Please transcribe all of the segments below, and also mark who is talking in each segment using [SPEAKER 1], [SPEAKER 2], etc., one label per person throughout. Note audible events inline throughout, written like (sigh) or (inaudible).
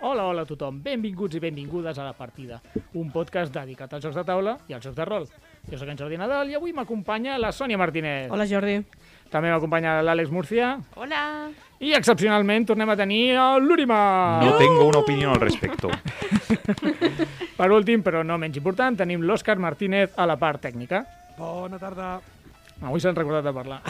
[SPEAKER 1] Hola, hola a tothom. Benvinguts i benvingudes a La Partida, un podcast dedicat als jocs de taula i als jocs de rol. Jo sóc en Jordi Nadal i avui m'acompanya la Sònia Martínez.
[SPEAKER 2] Hola, Jordi.
[SPEAKER 1] També m'acompanya l'Àlex Murcia
[SPEAKER 3] Hola.
[SPEAKER 1] i, excepcionalment, tornem a tenir el l'Úrima.
[SPEAKER 4] No
[SPEAKER 1] Oh!
[SPEAKER 4] tengo una opinión al respecto.
[SPEAKER 1] Per últim, però no menys important, tenim l'Òscar Martínez a la part tècnica.
[SPEAKER 5] Bona tarda.
[SPEAKER 1] Avui s'han recordat de parlar.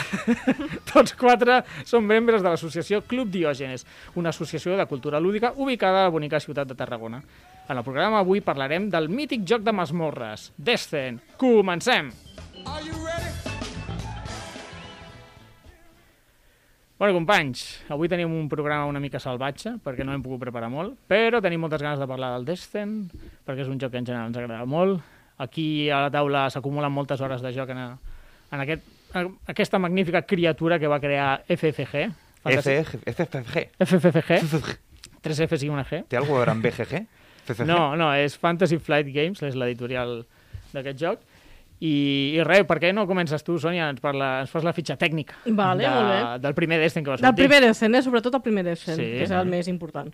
[SPEAKER 1] (laughs) Tots quatre són membres de l'associació Club Diògenes, una associació de cultura lúdica ubicada a la bonica ciutat de Tarragona. En el programa avui parlarem del mític joc de masmorres, Descent. Comencem! Bueno, companys, avui tenim un programa una mica salvatge, perquè no hem pogut preparar molt, però tenim moltes ganes de parlar del Descent, perquè és un joc que en general ens agrada molt. Aquí a la taula s'acumulen moltes hores de joc en, a, en aquest, en aquesta magnífica criatura que va crear FFG. Fantàstic.
[SPEAKER 4] FG, FFG.
[SPEAKER 1] FFG. 3 Fs i una G.
[SPEAKER 4] E ¿Té algo de gran BGG? FFG?
[SPEAKER 1] No, no, és Fantasy Flight Games, és l'editorial d'aquest joc. I, I res, per què no comences tu, Sònia? Ens, parla, ens fas la fitxa tècnica
[SPEAKER 2] Vale,
[SPEAKER 1] de,
[SPEAKER 2] molt bé.
[SPEAKER 1] del primer Destin que va sortir.
[SPEAKER 2] Del primer Descent, eh? sobretot el primer Descent,
[SPEAKER 1] Sí,
[SPEAKER 2] sí, que és
[SPEAKER 4] eh?
[SPEAKER 1] vale.
[SPEAKER 2] el més important.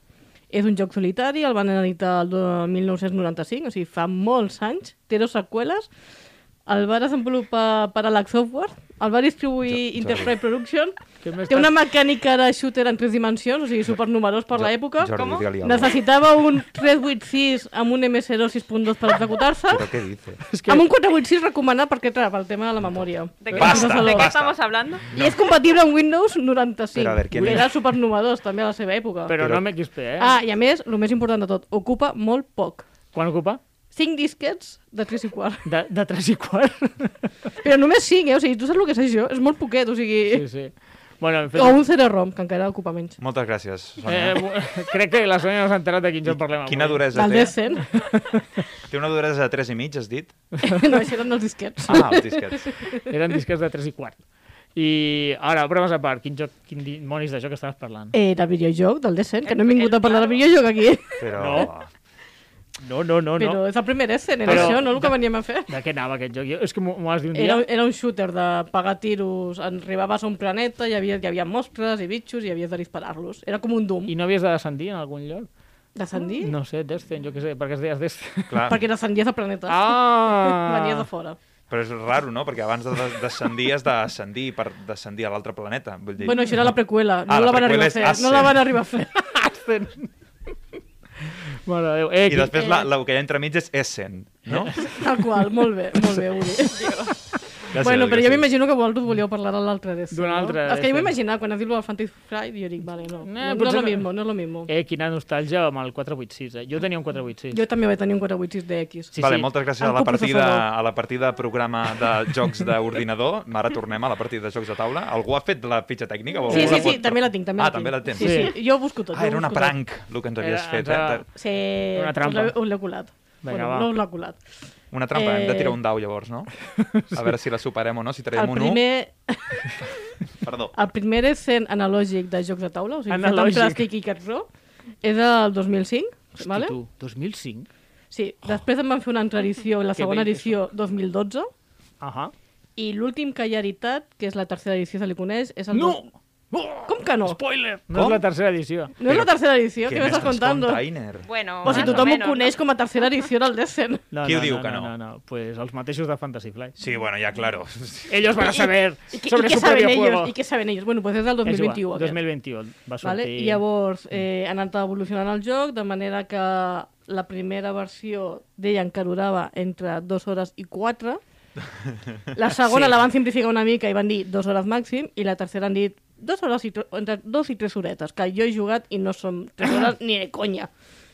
[SPEAKER 2] És un joc solitari, el van editar el do- 1995, o sigui, fa molts anys, té dos seqüeles, el va desenvolupar Parallax Software, el va distribuir
[SPEAKER 4] Jo-
[SPEAKER 2] Interplay Production,
[SPEAKER 1] Què més
[SPEAKER 2] té una mecànica de shooter en tres dimensions, o sigui, supernumerós per
[SPEAKER 4] Jo-
[SPEAKER 2] l'època.
[SPEAKER 4] Jordi,
[SPEAKER 2] Com?
[SPEAKER 4] digue-li alguna cosa.
[SPEAKER 2] Necessitava un 386 amb un MS2 6.2 per executar-se,
[SPEAKER 4] ¿Pero qué dice?
[SPEAKER 1] És que,
[SPEAKER 2] amb un 486 recomanat perquè, clar, pel tema de la memòria.
[SPEAKER 3] ¿De qué,
[SPEAKER 4] Basta,
[SPEAKER 3] ¿de qué
[SPEAKER 4] basta.
[SPEAKER 3] estamos hablando?
[SPEAKER 2] I és compatible amb Windows 95.
[SPEAKER 4] Però a veure, quin
[SPEAKER 2] Era
[SPEAKER 4] és?
[SPEAKER 2] Era supernovadors, també, a la seva època.
[SPEAKER 1] però,
[SPEAKER 4] però-
[SPEAKER 1] no m'XP, eh?
[SPEAKER 2] Ah, i a més, el més important de tot, ocupa molt poc.
[SPEAKER 1] Quan ocupa?
[SPEAKER 2] 5 disquets de 3 i quart. (laughs)
[SPEAKER 1] De, de 3 i quart?
[SPEAKER 2] Però només 5, eh? O sigui, tu saps el que és això? És molt poquet, o sigui...
[SPEAKER 1] sí, sí. Bueno, en
[SPEAKER 2] Sí,
[SPEAKER 1] fet,
[SPEAKER 2] O un CD-ROM, que encara ocupa menys.
[SPEAKER 4] Moltes gràcies,
[SPEAKER 1] eh,
[SPEAKER 4] Sònia.
[SPEAKER 1] bu- crec que la Sònia no s'ha enterat de quin joc parlem avui.
[SPEAKER 4] Quina duresa
[SPEAKER 2] Del
[SPEAKER 4] té?
[SPEAKER 2] Descent. (laughs)
[SPEAKER 4] Té una duresa de 3 i mig, has dit?
[SPEAKER 2] no, això eren els disquets.
[SPEAKER 4] Ah, els disquets.
[SPEAKER 1] Eren disques de 3 i quart. I ara, bromes a part, quin, joc, quin dimonis de joc estaves parlant?
[SPEAKER 2] Eh, de videojoc, del Descent, que no
[SPEAKER 3] El-
[SPEAKER 2] hem vingut
[SPEAKER 3] el
[SPEAKER 2] a parlar de
[SPEAKER 3] claro.
[SPEAKER 2] videojoc aquí.
[SPEAKER 4] Però...
[SPEAKER 1] No. No, no, no, no.
[SPEAKER 2] Però és el primer Descent, era
[SPEAKER 1] Però-
[SPEAKER 2] això, no? El que veníem a fer.
[SPEAKER 1] De què anava aquest joc? Jo, és que m'ho m'ho has dit un dia...
[SPEAKER 2] Era, era un shooter de pagar tiros, arribaves a un planeta, hi havia, hi havia mostres i bitxos i havies de disparar-los. Era com un Doom.
[SPEAKER 1] I no havies de descendir en algun lloc?
[SPEAKER 2] Descendir?
[SPEAKER 1] No sé, Destin, jo què sé, perquè es deies
[SPEAKER 2] (laughs)
[SPEAKER 1] Destin.
[SPEAKER 4] Clar,
[SPEAKER 2] Perquè descendies de planetes.
[SPEAKER 1] Ah!
[SPEAKER 2] Venies de fora.
[SPEAKER 4] però és raro, no? Perquè abans de de- descendir has d'ascendir per descendir a l'altre planeta. Vull dir,
[SPEAKER 2] Bueno, això era la preqüela. No
[SPEAKER 4] Ah, la
[SPEAKER 2] la, van
[SPEAKER 4] preqüela
[SPEAKER 2] arribar a
[SPEAKER 4] és
[SPEAKER 2] fer.
[SPEAKER 4] Ascent.
[SPEAKER 2] No la van arribar a fer.
[SPEAKER 1] Destin. Mare de Déu. Eh,
[SPEAKER 4] I després la, la, el que hi ha entremig és Essen, no?
[SPEAKER 2] Tal qual, molt bé, molt bé, Uri.
[SPEAKER 4] Gràcies,
[SPEAKER 2] bueno, però
[SPEAKER 4] gràcies.
[SPEAKER 2] jo m'imagino que vosaltres volíeu parlar de l'altre d'este.
[SPEAKER 1] D'un altre
[SPEAKER 2] No? És que jo
[SPEAKER 1] d'este.
[SPEAKER 2] m'he imaginat, quan has dit el Fantasy Friday, jo dic, vale, no. No, no, és
[SPEAKER 1] potser
[SPEAKER 2] lo
[SPEAKER 1] no.
[SPEAKER 2] mismo, no és lo mismo.
[SPEAKER 1] eh, quina nostàlgia amb el 486, eh? Jo tenia un 486.
[SPEAKER 2] Jo també vaig tenir un 486 DX.
[SPEAKER 1] Sí,
[SPEAKER 4] vale,
[SPEAKER 1] sí.
[SPEAKER 4] moltes gràcies a
[SPEAKER 2] El
[SPEAKER 4] la partida
[SPEAKER 2] coprocessador.
[SPEAKER 4] a la partida programa de jocs d'ordinador. Ara tornem a la partida de jocs de taula. Algú ha fet la fitxa tècnica? O
[SPEAKER 2] Sí,
[SPEAKER 4] algú
[SPEAKER 2] sí, sí,
[SPEAKER 4] pot-
[SPEAKER 2] també la tinc, també
[SPEAKER 4] ah,
[SPEAKER 2] la tinc.
[SPEAKER 4] també la tens.
[SPEAKER 2] Sí, sí, jo ho busco tot.
[SPEAKER 4] Ah,
[SPEAKER 2] jo
[SPEAKER 4] era
[SPEAKER 2] ho
[SPEAKER 4] una
[SPEAKER 2] busco tot.
[SPEAKER 4] pranc, el que ens havies
[SPEAKER 1] Era-
[SPEAKER 4] fet.
[SPEAKER 1] ens ha-
[SPEAKER 4] Eh? De-
[SPEAKER 2] Sí,
[SPEAKER 1] Una trampa.
[SPEAKER 2] us l'he- Us l'he colat.
[SPEAKER 1] Vinga,
[SPEAKER 2] bueno,
[SPEAKER 1] va.
[SPEAKER 2] no us l'he colat.
[SPEAKER 4] Una trampa, hem de
[SPEAKER 2] Eh,
[SPEAKER 4] tirar un dau,
[SPEAKER 2] (laughs)
[SPEAKER 4] llavors, no? A veure si la superem o no, si traiem
[SPEAKER 2] El
[SPEAKER 4] un
[SPEAKER 2] primer,
[SPEAKER 4] 1. Perdó.
[SPEAKER 2] El primer escent analògic de jocs de taula, o sigui,
[SPEAKER 1] Analògic.
[SPEAKER 2] fet amb plàstic i cartró, és del 2005,
[SPEAKER 1] Hosti,
[SPEAKER 2] vale?
[SPEAKER 1] tu, 2005?
[SPEAKER 2] Sí, després en van fer una altra edició, la
[SPEAKER 1] Que
[SPEAKER 2] segona
[SPEAKER 1] vell que
[SPEAKER 2] edició 2012,
[SPEAKER 1] Ahà.
[SPEAKER 2] i l'últim que hi ha editat, que és la tercera edició, se li coneix, és el...
[SPEAKER 1] No!
[SPEAKER 2] dos- Com que no?
[SPEAKER 1] Spoiler! No
[SPEAKER 4] Com?
[SPEAKER 1] és la tercera edició.
[SPEAKER 2] No és la
[SPEAKER 4] Però
[SPEAKER 2] tercera edició, què m'estàs contant?
[SPEAKER 4] container?
[SPEAKER 3] Bueno,
[SPEAKER 2] O
[SPEAKER 3] más
[SPEAKER 2] sigui,
[SPEAKER 3] o
[SPEAKER 2] tothom ho
[SPEAKER 3] menos,
[SPEAKER 2] coneix com a tercera edició del Descent.
[SPEAKER 1] No,
[SPEAKER 4] Qui ho
[SPEAKER 1] no,
[SPEAKER 4] diu
[SPEAKER 1] no,
[SPEAKER 4] que no?
[SPEAKER 1] No, no, no. Pues els mateixos de Fantasy Flight.
[SPEAKER 4] Sí, bueno, ja, claro.
[SPEAKER 1] Ellos van a saber
[SPEAKER 2] I, què-
[SPEAKER 1] sobre
[SPEAKER 2] i què
[SPEAKER 1] su
[SPEAKER 2] saben
[SPEAKER 1] propio
[SPEAKER 2] ells?
[SPEAKER 1] juego.
[SPEAKER 2] I què saben ells? Bueno, doncs és del
[SPEAKER 1] És igual,
[SPEAKER 2] 2021. aquest.
[SPEAKER 1] 2021 va sortir... Mm.
[SPEAKER 2] Vale? I llavors eh, ha anat evolucionant el joc de manera que la primera versió deien que durava entre 2 hores
[SPEAKER 1] (laughs)
[SPEAKER 2] i 4. La segona sí. la van simplificar una mica i van dir 2 hores màxim i la tercera han dit 2 hores i tre- entre 2 i 3 horetes, que jo he jugat i no són 3
[SPEAKER 1] (coughs)
[SPEAKER 2] hores ni de conya.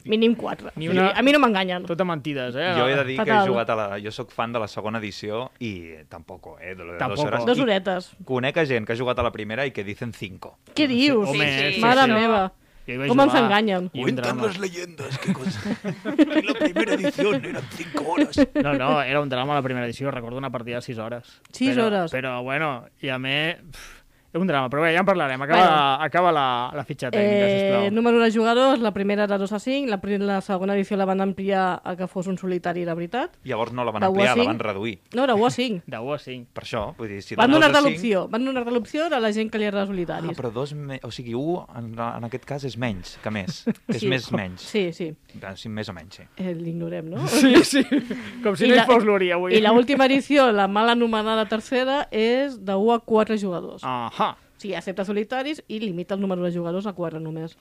[SPEAKER 2] Mínim 4.
[SPEAKER 1] Ni
[SPEAKER 2] Ni
[SPEAKER 1] una-
[SPEAKER 2] una... A mi no m'enganyen.
[SPEAKER 1] Tota mentides, eh?
[SPEAKER 4] Jo he de dir que he
[SPEAKER 2] Fatal.
[SPEAKER 4] jugat a la... Jo sóc fan de la segona edició i tampoc, eh? De lo de
[SPEAKER 1] Tampoco.
[SPEAKER 4] Dos hores.
[SPEAKER 2] Dos
[SPEAKER 4] I
[SPEAKER 2] horetes.
[SPEAKER 4] Conec a gent que ha jugat a la primera i que dicen 5.
[SPEAKER 2] Què dius?
[SPEAKER 1] Home, sí, sí,
[SPEAKER 2] Mare
[SPEAKER 1] sí.
[SPEAKER 2] meva.
[SPEAKER 1] I Jo hi vaig
[SPEAKER 2] Com ens
[SPEAKER 1] jugar
[SPEAKER 2] enganyen.
[SPEAKER 1] i un drama.
[SPEAKER 3] leyendas que en la primera edición eran cinco horas.
[SPEAKER 1] No, no, era un drama la primera edició, recordo una partida de 6 hores.
[SPEAKER 2] Sis
[SPEAKER 1] però,
[SPEAKER 2] hores.
[SPEAKER 1] Però, bueno, i a més... pff, És un drama, però bé, ja en parlarem. Acaba,
[SPEAKER 2] Bueno.
[SPEAKER 1] acaba la, la fitxa tècnica,
[SPEAKER 2] Eh,
[SPEAKER 1] sisplau.
[SPEAKER 2] número de jugadors, la primera era 2 a 5, la, pri- la segona edició la van ampliar a que fos un solitari de veritat.
[SPEAKER 4] Llavors no la van
[SPEAKER 2] De
[SPEAKER 4] ampliar, la
[SPEAKER 2] Washing?
[SPEAKER 4] van reduir.
[SPEAKER 2] No, era 1 a 5.
[SPEAKER 1] De 1 a 5.
[SPEAKER 4] Per això, vull dir, si
[SPEAKER 2] Van
[SPEAKER 4] dos
[SPEAKER 2] donar-te
[SPEAKER 4] a cinc-
[SPEAKER 2] l'opció, van donar-te l'opció de la gent que li agrada
[SPEAKER 4] Ah,
[SPEAKER 2] solitaris.
[SPEAKER 4] però dos... Me... O sigui, un, en, en aquest cas, és menys que
[SPEAKER 1] (laughs)
[SPEAKER 4] més. És més menys.
[SPEAKER 2] Sí, sí.
[SPEAKER 4] Ah, Sí, més o menys, sí.
[SPEAKER 2] Eh, L'ignorem, no?
[SPEAKER 1] Sí, sí. (laughs) Com si
[SPEAKER 2] I
[SPEAKER 1] no hi
[SPEAKER 2] la-
[SPEAKER 1] fos l'Uri avui.
[SPEAKER 2] I l'última edició, la mal anomenada tercera, és de 1 a 4 jugadors. Ah.
[SPEAKER 1] Ahà,
[SPEAKER 2] O sigui, accepta solitaris i limita el número de jugadors a 4 només.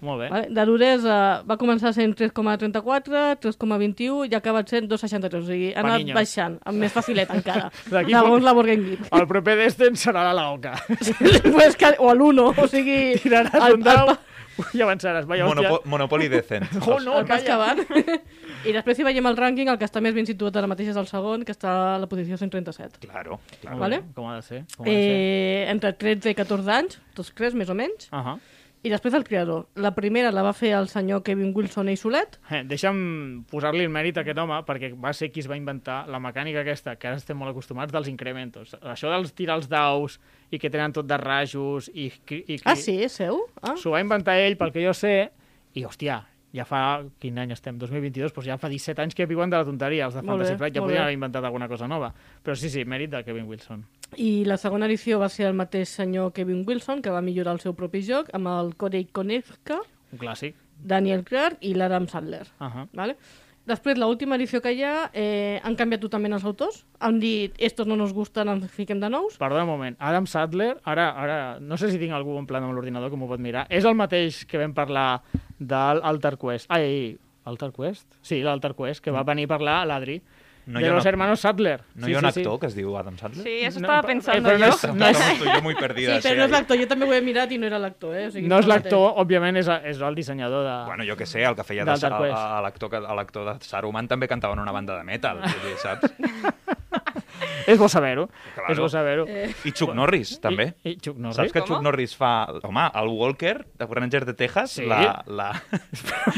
[SPEAKER 1] molt bé.
[SPEAKER 2] Vale? De duresa va començar sent 3,34, 3,21 i ha acabat sent 2,63. O sigui, ha anat
[SPEAKER 1] Paniños.
[SPEAKER 2] baixant, amb més facilet encara.
[SPEAKER 1] (laughs) D'aquí Ah.
[SPEAKER 2] Segons
[SPEAKER 1] pot-
[SPEAKER 2] la Borgen Geek. (laughs)
[SPEAKER 1] El proper d'Esten serà la Laoca.
[SPEAKER 2] pues que, o l'1, o sigui...
[SPEAKER 1] Tiraràs
[SPEAKER 2] (laughs) el-
[SPEAKER 1] un
[SPEAKER 2] el
[SPEAKER 1] dau
[SPEAKER 2] pa-
[SPEAKER 1] i avançaràs. Vaya,
[SPEAKER 4] Monopo
[SPEAKER 1] hòstia. (laughs)
[SPEAKER 4] Monopoli Decent.
[SPEAKER 1] Ah, Oh, no,
[SPEAKER 2] el pas que van. (laughs) I després si veiem el rànquing, el que està més ben situat ara mateix és el segon, que està a la posició 137.
[SPEAKER 4] Claro. claro.
[SPEAKER 1] Molt
[SPEAKER 2] vale.
[SPEAKER 1] bé, Ah, Com ha de ser? Com ha de ser?
[SPEAKER 2] Eh, entre 13 i 14 anys, tots tres més o menys.
[SPEAKER 1] Ahà.
[SPEAKER 2] I després el creador. La primera la va fer el senyor Kevin Wilson i Solet.
[SPEAKER 1] Eh, Deixa'm posar-li el mèrit a aquest home perquè va ser qui es va inventar la mecànica aquesta que ara estem molt acostumats dels incrementos. Això dels tirar els daus i que tenen tot de rajos i... cri- i, i
[SPEAKER 2] Ah, sí, és seu? Ah.
[SPEAKER 1] S'ho va inventar ell, pel que jo sé, i hòstia, ja fa... Quin any estem? 2022? Doncs ja fa 17 anys que viuen de la tonteria, els de
[SPEAKER 2] Molt
[SPEAKER 1] Fantasy
[SPEAKER 2] bé,
[SPEAKER 1] Flight. Ja
[SPEAKER 2] molt
[SPEAKER 1] podien
[SPEAKER 2] bé.
[SPEAKER 1] haver inventat alguna cosa nova. Però sí, sí, mèrit de Kevin Wilson.
[SPEAKER 2] I la segona edició va ser el mateix senyor Kevin Wilson, que va millorar el seu propi joc, amb el Corey Konevka,
[SPEAKER 1] Un clàssic.
[SPEAKER 2] Daniel Clark i l'Adam Sandler.
[SPEAKER 1] Ahà.
[SPEAKER 2] ¿vale? Després, l'última edició que hi ha, eh, han canviat totalment els autors. Han dit, estos no nos gustan, ens fiquem de nous.
[SPEAKER 1] Perdó un moment. Adam Sadler, ara, ara no sé si tinc algú en plan amb l'ordinador que m'ho pot mirar. És el mateix que vam parlar del Alter Quest. Ai, Alter Quest? Sí, l'Alter Quest, que va venir a parlar l'Adri.
[SPEAKER 4] Mm. No
[SPEAKER 1] de
[SPEAKER 4] hi ha
[SPEAKER 1] los
[SPEAKER 4] una-
[SPEAKER 1] hermanos Sadler.
[SPEAKER 4] No hi ha un actor que es diu Adam Sandler?
[SPEAKER 5] Sí, eso estaba
[SPEAKER 1] No,
[SPEAKER 5] pensando
[SPEAKER 1] eh, pero
[SPEAKER 5] yo.
[SPEAKER 1] no es-
[SPEAKER 4] No, és... Jo m'ho he perdida.
[SPEAKER 2] Sí, però no és
[SPEAKER 4] sí.
[SPEAKER 2] l'actor, jo també ho he mirat i no era l'actor, eh? O sigui,
[SPEAKER 1] (laughs) No és
[SPEAKER 2] el mateix.
[SPEAKER 1] l'actor, òbviament, és, és el dissenyador de...
[SPEAKER 4] Bueno, jo que sé, el que feia de,
[SPEAKER 1] Del Dark
[SPEAKER 4] a-
[SPEAKER 1] West.
[SPEAKER 4] a- a l'actor que- a l'actor de Saruman també cantava en una banda de metal, vull dir,
[SPEAKER 1] (laughs)
[SPEAKER 4] saps?
[SPEAKER 1] És bo saber-ho.
[SPEAKER 4] Claro.
[SPEAKER 1] És bo saber-ho.
[SPEAKER 4] I Chuck Norris, també.
[SPEAKER 1] Eh. I, i Chuck Norris.
[SPEAKER 4] Saps que
[SPEAKER 5] Com?
[SPEAKER 4] Chuck Norris fa... Home, el Walker, de Rangers de Texas,
[SPEAKER 1] Sí.
[SPEAKER 4] la... la... (laughs)
[SPEAKER 1] (laughs)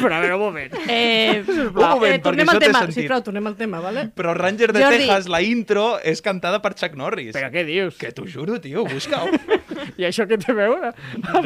[SPEAKER 1] Però a veure, un moment. (laughs)
[SPEAKER 2] Eh,
[SPEAKER 4] Un moment,
[SPEAKER 2] eh, tornem al
[SPEAKER 4] perquè això té
[SPEAKER 2] tema,
[SPEAKER 4] sentit.
[SPEAKER 2] sisplau, tornem al tema, vale?
[SPEAKER 4] Però el Ranger de
[SPEAKER 2] Jordi.
[SPEAKER 4] Texas, la intro, és cantada per Chuck Norris.
[SPEAKER 1] Però què dius?
[SPEAKER 4] Que t'ho juro, tio, busca-ho.
[SPEAKER 1] I això què té a veure?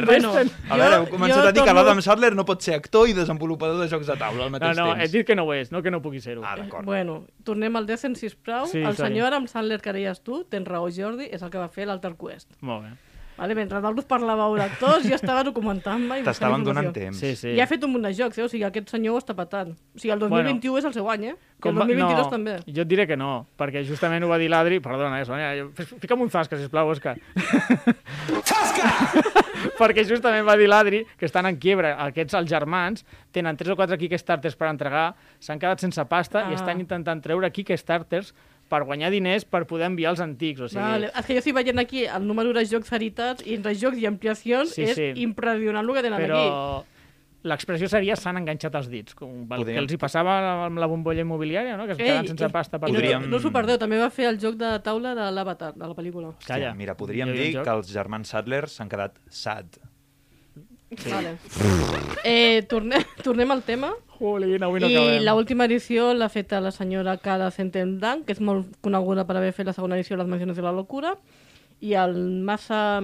[SPEAKER 2] Bueno,
[SPEAKER 4] A veure, heu començat a dir que
[SPEAKER 2] torno-
[SPEAKER 4] l'Adam Sandler no pot ser actor i desenvolupador de jocs de taula
[SPEAKER 1] No,
[SPEAKER 4] al mateix
[SPEAKER 1] no, he
[SPEAKER 4] temps.
[SPEAKER 1] dit que no ho és, no que no pugui ser-ho.
[SPEAKER 4] Ah, d'acord.
[SPEAKER 2] Bueno, tornem al Descent, sisplau.
[SPEAKER 1] Sí,
[SPEAKER 2] Sí, el
[SPEAKER 1] sorry.
[SPEAKER 2] senyor Adam Sandler que deies tu, tens raó, Jordi, és el que va fer l'Alter Quest.
[SPEAKER 1] Molt bé.
[SPEAKER 2] Vale? Mentre Dalrus parlava d'actors, jo estava documentant-me i buscant
[SPEAKER 4] T'estaven donant
[SPEAKER 2] informació.
[SPEAKER 4] temps.
[SPEAKER 1] Sí, sí.
[SPEAKER 2] I ha fet un munt de jocs, eh? o sigui, aquest senyor ho està patant. O sigui, el 2021 bueno, és el seu any, eh? I el
[SPEAKER 1] va-
[SPEAKER 2] 2022 també.
[SPEAKER 1] Jo et diré que no, perquè justament ho va dir l'Adri... Perdona, eh, Sònia, jo- fes- fica'm un zasca, sisplau, Òscar. (laughs) perquè justament va dir l'Adri que estan en quiebre. Aquests, els germans, tenen tres o quatre Kickstarters per entregar, s'han quedat sense pasta
[SPEAKER 2] Ah.
[SPEAKER 1] i estan intentant treure Kickstarters per guanyar diners per poder enviar als antics. O sigui,
[SPEAKER 2] Vale. ah, És que jo estic veient aquí el número de jocs heritats i entre jocs i ampliacions
[SPEAKER 1] Sí,
[SPEAKER 2] sí, és
[SPEAKER 1] sí.
[SPEAKER 2] sí. impressionant el que tenen
[SPEAKER 1] però
[SPEAKER 2] aquí.
[SPEAKER 1] l'expressió seria s'han enganxat els dits, com el
[SPEAKER 4] Podríem-
[SPEAKER 1] que els hi passava amb la bombolla immobiliària, no? que es
[SPEAKER 2] Ei,
[SPEAKER 1] quedaven sense
[SPEAKER 2] i-
[SPEAKER 1] pasta per
[SPEAKER 2] I
[SPEAKER 4] podríem-
[SPEAKER 2] No, no us ho perdeu, també va fer el joc de taula de l'Avatar, de la pel·lícula.
[SPEAKER 1] Calla.
[SPEAKER 4] Hòstia, mira, podríem
[SPEAKER 1] Jo hi ha un
[SPEAKER 4] dir
[SPEAKER 1] joc.
[SPEAKER 4] que els germans Sadler s'han quedat sad.
[SPEAKER 2] Sí. Vale. Eh, tornem, (laughs) tornem al tema.
[SPEAKER 1] Jolín, avui no
[SPEAKER 2] I
[SPEAKER 1] acabem.
[SPEAKER 2] l'última edició l'ha fet la senyora Cara Centendang, que és molt coneguda per haver fet la segona edició de les Menciones de la Locura, i el Massa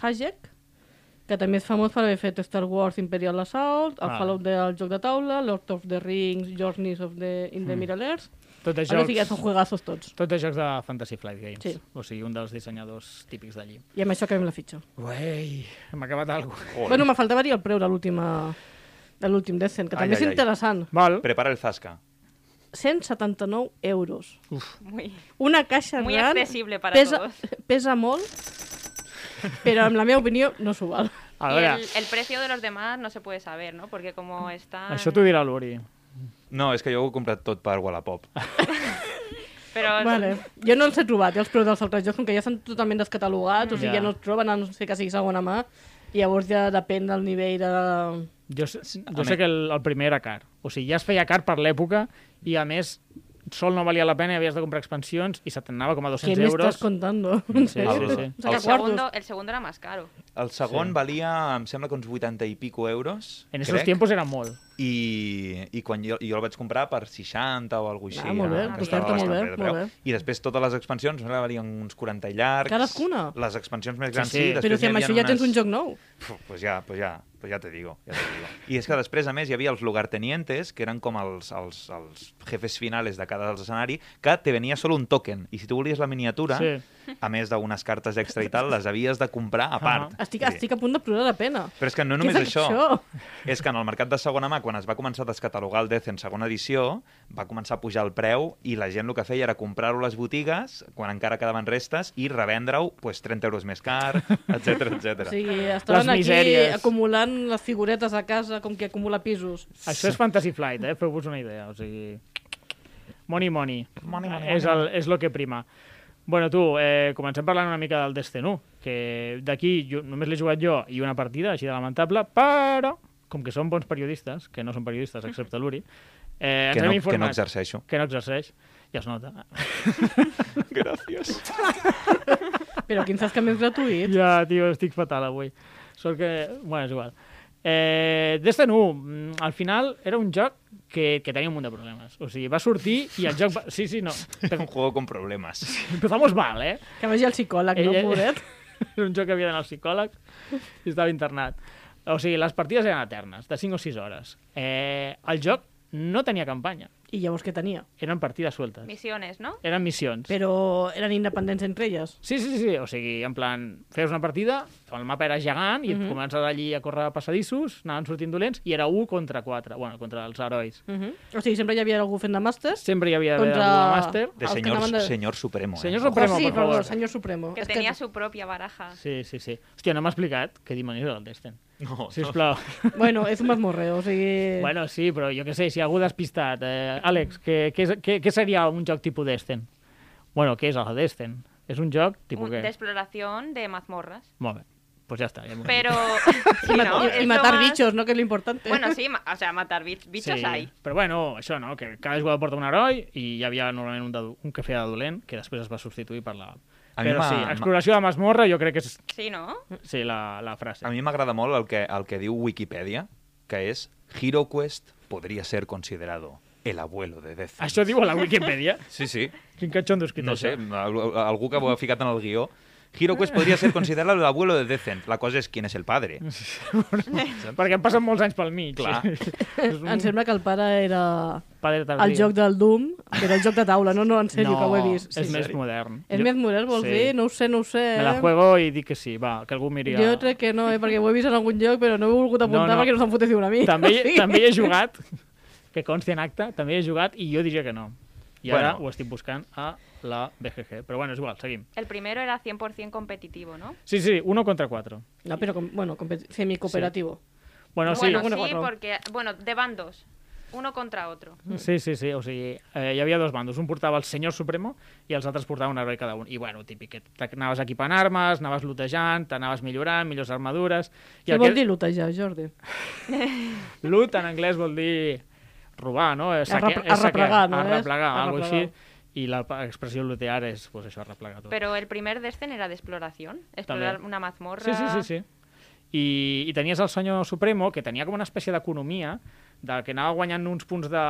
[SPEAKER 2] Hajek, que també és famós per haver fet Star Wars Imperial Assault, el
[SPEAKER 1] Ah.
[SPEAKER 2] Fallout del joc de taula, Lord of the Rings, Journeys of the, in the Middle-earth...
[SPEAKER 1] Tot
[SPEAKER 2] Jocs... O sigui,
[SPEAKER 1] Hmm. això...
[SPEAKER 2] són juegazos tots.
[SPEAKER 1] Tots els jocs de Fantasy Flight Games.
[SPEAKER 2] Sí.
[SPEAKER 1] O sigui, un dels dissenyadors típics d'allí.
[SPEAKER 2] I amb això acabem la fitxa.
[SPEAKER 1] Uei, hem acabat (laughs) alguna cosa.
[SPEAKER 4] Joder.
[SPEAKER 2] Bueno, me faltava dir el preu de l'última de l'últim Descent, que
[SPEAKER 4] Ai,
[SPEAKER 2] també
[SPEAKER 4] ai,
[SPEAKER 2] és
[SPEAKER 4] ai.
[SPEAKER 2] interessant.
[SPEAKER 1] Val.
[SPEAKER 4] Prepara el Zasca.
[SPEAKER 2] 179 euros.
[SPEAKER 1] (laughs)
[SPEAKER 5] Muy,
[SPEAKER 2] Una caixa
[SPEAKER 5] muy
[SPEAKER 2] gran...
[SPEAKER 5] accesible para
[SPEAKER 2] pesa,
[SPEAKER 5] todos.
[SPEAKER 2] pesa molt, però amb la meva opinió no s'ho val.
[SPEAKER 1] A
[SPEAKER 5] Y
[SPEAKER 1] veure,
[SPEAKER 5] el, el precio de los demás no se puede saber, ¿no? Porque
[SPEAKER 2] Mm.
[SPEAKER 5] como están...
[SPEAKER 1] això t'ho dirà l'Uri.
[SPEAKER 4] No, és que jo ho he comprat tot per Wallapop.
[SPEAKER 5] Pero
[SPEAKER 2] Vale. Jo no els he trobat, ja els preus dels altres jocs, com que ja estan totalment descatalogats, o sigui,
[SPEAKER 1] Ja.
[SPEAKER 2] ja no els troben, a no sé que sigui segona mà, i llavors ja depèn del nivell de...
[SPEAKER 1] Jo, sé- jo
[SPEAKER 4] mi-
[SPEAKER 1] sé que el, el primer era car. O sigui, ja es feia car per l'època i, a més, sol no valia la pena i havies de comprar expansions i se t'anava com a
[SPEAKER 2] Què
[SPEAKER 1] 200
[SPEAKER 2] m'estàs
[SPEAKER 1] euros.
[SPEAKER 2] contando?
[SPEAKER 1] Sí, sí, sí.
[SPEAKER 5] el
[SPEAKER 4] El-
[SPEAKER 2] Saca quartos.
[SPEAKER 5] segundo, el segundo era más caro.
[SPEAKER 4] El
[SPEAKER 1] Sí.
[SPEAKER 4] segon sí. valia, em sembla que uns 80 i pico euros,
[SPEAKER 1] En esos
[SPEAKER 4] crec,
[SPEAKER 1] tiempos era molt.
[SPEAKER 4] i, i quan jo, jo el vaig comprar per 60 o alguna cosa
[SPEAKER 2] Ah,
[SPEAKER 4] així.
[SPEAKER 2] molt bé,
[SPEAKER 4] que
[SPEAKER 2] pues
[SPEAKER 4] estava
[SPEAKER 2] carta, molt
[SPEAKER 4] bastant
[SPEAKER 2] bé,
[SPEAKER 4] de
[SPEAKER 2] molt
[SPEAKER 4] preu.
[SPEAKER 2] bé.
[SPEAKER 4] I després totes les expansions, em sembla que valien uns 40 i llargs.
[SPEAKER 2] Cadascuna?
[SPEAKER 4] Les expansions més grans
[SPEAKER 1] sí.
[SPEAKER 4] sí. sí.
[SPEAKER 2] Però si amb això ja tens un joc nou.
[SPEAKER 4] Puf, pues ja, pues ja, pues ja te digo, ja te digo. I és que després, a més, hi havia els lugartenientes, que eren com els, els, els jefes finales de cada dels escenari, que te venia solo un token. I si tu volies la miniatura,
[SPEAKER 1] Sí.
[SPEAKER 4] sí. a més d'unes cartes extra i tal, les havies de comprar a part.
[SPEAKER 1] Ah.
[SPEAKER 2] Estic,
[SPEAKER 4] Vull dir,
[SPEAKER 2] estic a punt de plorar de pena.
[SPEAKER 4] Però és que no
[SPEAKER 2] Què
[SPEAKER 4] només
[SPEAKER 2] és
[SPEAKER 4] això,
[SPEAKER 2] això?
[SPEAKER 4] és que en el mercat de segona mà, quan es va començar a descatalogar el Death en segona edició, va començar a pujar el preu i la gent el que feia era comprar-ho a les botigues, quan encara quedaven restes, i revendre-ho pues, 30 euros més
[SPEAKER 2] (laughs)
[SPEAKER 4] car, etc etc.
[SPEAKER 2] O sigui, estaven aquí
[SPEAKER 1] misèries.
[SPEAKER 2] acumulant les figuretes a casa com que acumula pisos.
[SPEAKER 1] Això és Fantasy Flight, eh? Feu-vos una idea, o sigui... Money, money.
[SPEAKER 4] Money, money,
[SPEAKER 1] és, el, és lo que prima. Bueno, tu, eh, comencem parlant una mica del Destin 1, que d'aquí jo- només l'he jugat jo i una partida, així de lamentable, però, com que són bons periodistes, que no són periodistes excepte l'Uri, eh, ens
[SPEAKER 4] Que no-
[SPEAKER 1] hem
[SPEAKER 4] que
[SPEAKER 1] informat...
[SPEAKER 4] no exerceixo.
[SPEAKER 1] Que no exerceix, ja es nota.
[SPEAKER 4] Gràcies.
[SPEAKER 2] Però quin saps que més gratuït?
[SPEAKER 1] Ja, tio, estic fatal avui. Sort que... Bueno, és igual. Eh, Destin 1, mm, al final era un joc que, que tenia un munt de problemes. O sigui, va sortir i el joc... Va... Sí, sí,
[SPEAKER 2] (laughs)
[SPEAKER 1] no.
[SPEAKER 4] un juego con
[SPEAKER 1] (laughs)
[SPEAKER 4] problemas.
[SPEAKER 1] Empezamos mal, eh?
[SPEAKER 2] Que vagi al psicòleg,
[SPEAKER 1] Ell-
[SPEAKER 2] no,
[SPEAKER 1] ell-
[SPEAKER 2] pobret?
[SPEAKER 1] (laughs) Era un joc que havia d'anar al psicòleg i estava internat. O sigui, les partides eren eternes, de 5 o 6 hores. Eh, el joc no tenia campanya,
[SPEAKER 2] I llavors què tenia?
[SPEAKER 1] eren partides sueltes,
[SPEAKER 5] Misiones, ¿no?
[SPEAKER 1] eren missions.
[SPEAKER 2] Però eren independents entre elles.
[SPEAKER 1] Sí, sí, sí, o sigui, en plan, feies una partida, el mapa era gegant i mm -hmm. comences allí a córrer passadissos, anaven sortint dolents, i era 1 contra 4, bueno, contra els herois.
[SPEAKER 2] Uh -huh. O sigui, sempre hi havia algú fent de màsters.
[SPEAKER 1] Sempre hi havia d'haver
[SPEAKER 2] Contra-
[SPEAKER 1] algú de màster.
[SPEAKER 4] De
[SPEAKER 2] Els que
[SPEAKER 4] señor,
[SPEAKER 2] anaven de-
[SPEAKER 4] señor Supremo. eh?
[SPEAKER 1] Señor
[SPEAKER 4] Ojo.
[SPEAKER 1] Supremo,
[SPEAKER 2] ah, sí,
[SPEAKER 1] per
[SPEAKER 2] perdó,
[SPEAKER 1] favor.
[SPEAKER 2] senyor Supremo.
[SPEAKER 5] Que
[SPEAKER 2] És
[SPEAKER 5] tenía su propia baraja.
[SPEAKER 1] Sí, sí, sí. Hòstia, no m'ha explicat què dimonis era el Destin.
[SPEAKER 4] No,
[SPEAKER 1] Sisplau.
[SPEAKER 2] Bueno, és un masmorreo, o sigui...
[SPEAKER 1] Bueno, sí, però jo què sé, si algú despistat... Eh, Àlex, què, què, és- què, què seria un joc tipus Destin? Bueno, què és el Destin? És un joc tipus
[SPEAKER 5] Un-
[SPEAKER 1] què?
[SPEAKER 5] de exploración
[SPEAKER 1] (laughs)
[SPEAKER 5] de mazmorras.
[SPEAKER 1] Molt bé, doncs pues ja està. Ja m'ho he
[SPEAKER 2] (laughs)
[SPEAKER 5] Pero.
[SPEAKER 2] I,
[SPEAKER 5] sí,
[SPEAKER 2] ma-
[SPEAKER 5] ¿no?
[SPEAKER 2] i,
[SPEAKER 5] Es
[SPEAKER 2] i
[SPEAKER 5] lo
[SPEAKER 2] matar
[SPEAKER 5] más-
[SPEAKER 2] bitxos, no? Que és l'importante.
[SPEAKER 5] Bueno,
[SPEAKER 2] (laughs)
[SPEAKER 5] sí, ma- o sea, matar bi- bichos hay.
[SPEAKER 1] Però bueno, això, no? Que cada jugador porta un heroi i hi havia normalment un, de, do- un que feia de dolent, que després es va substituir per la...
[SPEAKER 4] A mi
[SPEAKER 1] Però
[SPEAKER 4] m'ha-
[SPEAKER 1] sí,
[SPEAKER 4] m'ha-
[SPEAKER 1] exploració de masmorra jo crec que és
[SPEAKER 5] Sí, ¿no?
[SPEAKER 1] sí, la, la frase.
[SPEAKER 4] A mi m'agrada molt el que, el que diu Wikipedia, que és HeroQuest podria ser considerado el abuelo de Death.
[SPEAKER 1] Això diu a la Wikipedia.
[SPEAKER 4] Sí, sí.
[SPEAKER 1] Quin catxondo escrit
[SPEAKER 4] No sé,
[SPEAKER 1] això.
[SPEAKER 4] al- algú que ho ha ficat en el guió. HeroQuest podria ser considerado el abuelo de Decent. La cosa és quin és el padre.
[SPEAKER 1] Perquè han passat molts anys pel mig. (laughs)
[SPEAKER 4] Clar.
[SPEAKER 1] és un
[SPEAKER 2] Em sembla que el pare era
[SPEAKER 1] padre tardío.
[SPEAKER 2] el joc del Doom, que era el joc de taula. No, no, en sèrio,
[SPEAKER 1] No,
[SPEAKER 2] que ho he vist.
[SPEAKER 1] és més modern.
[SPEAKER 2] És
[SPEAKER 1] Jo-
[SPEAKER 2] més modern, vols
[SPEAKER 1] sí.
[SPEAKER 2] dir? No ho sé, no ho sé.
[SPEAKER 1] Me la juego i dic que sí, va, que algú miri a...
[SPEAKER 2] Jo crec que no, eh? perquè ho he vist en algun lloc, però no he volgut apuntar
[SPEAKER 1] No, no.
[SPEAKER 2] perquè no se'n fotés ni una a mi.
[SPEAKER 1] També,
[SPEAKER 2] (laughs) O sigui,
[SPEAKER 1] també he jugat, que consti en acte, també he jugat i jo diria que no. I ara
[SPEAKER 4] Bueno.
[SPEAKER 1] ho estic buscant a la BGG. Però bueno, és igual, seguim.
[SPEAKER 5] El primero era 100% competitivo, ¿no?
[SPEAKER 1] Sí, sí, 1 contra 4.
[SPEAKER 2] No, però com, bueno, com semi-cooperativo.
[SPEAKER 1] Bueno, sí,
[SPEAKER 5] bueno,
[SPEAKER 2] una
[SPEAKER 5] sí,
[SPEAKER 2] guarro.
[SPEAKER 5] porque. Bueno, de bandos. Uno contra otro.
[SPEAKER 1] sí, sí, sí, o sigui, eh, hi havia dos bandos. Un portava el senyor supremo i els altres portaven un heroi cada un. I bueno, típic, que t'ac- anaves equipant armes, anaves lootejant, t'anaves millorant, millors armadures...
[SPEAKER 2] Què vol dir lutejar, Jordi?
[SPEAKER 1] Loot en anglès vol dir robar, no? És
[SPEAKER 2] Arrepre- arreplegar, no és?
[SPEAKER 1] Arreplegar, alguna cosa
[SPEAKER 2] Arreplegar.
[SPEAKER 1] així. I la pa- expressió lootear és pues, això, arreplegar tot.
[SPEAKER 5] Pero el primer Descen era de exploración. Explorar
[SPEAKER 1] También.
[SPEAKER 5] una mazmorra.
[SPEAKER 1] Sí, sí, sí, sí. I, I tenies el senyor Supremo, que tenia com una espècie d'economia, del que anava guanyant uns punts de,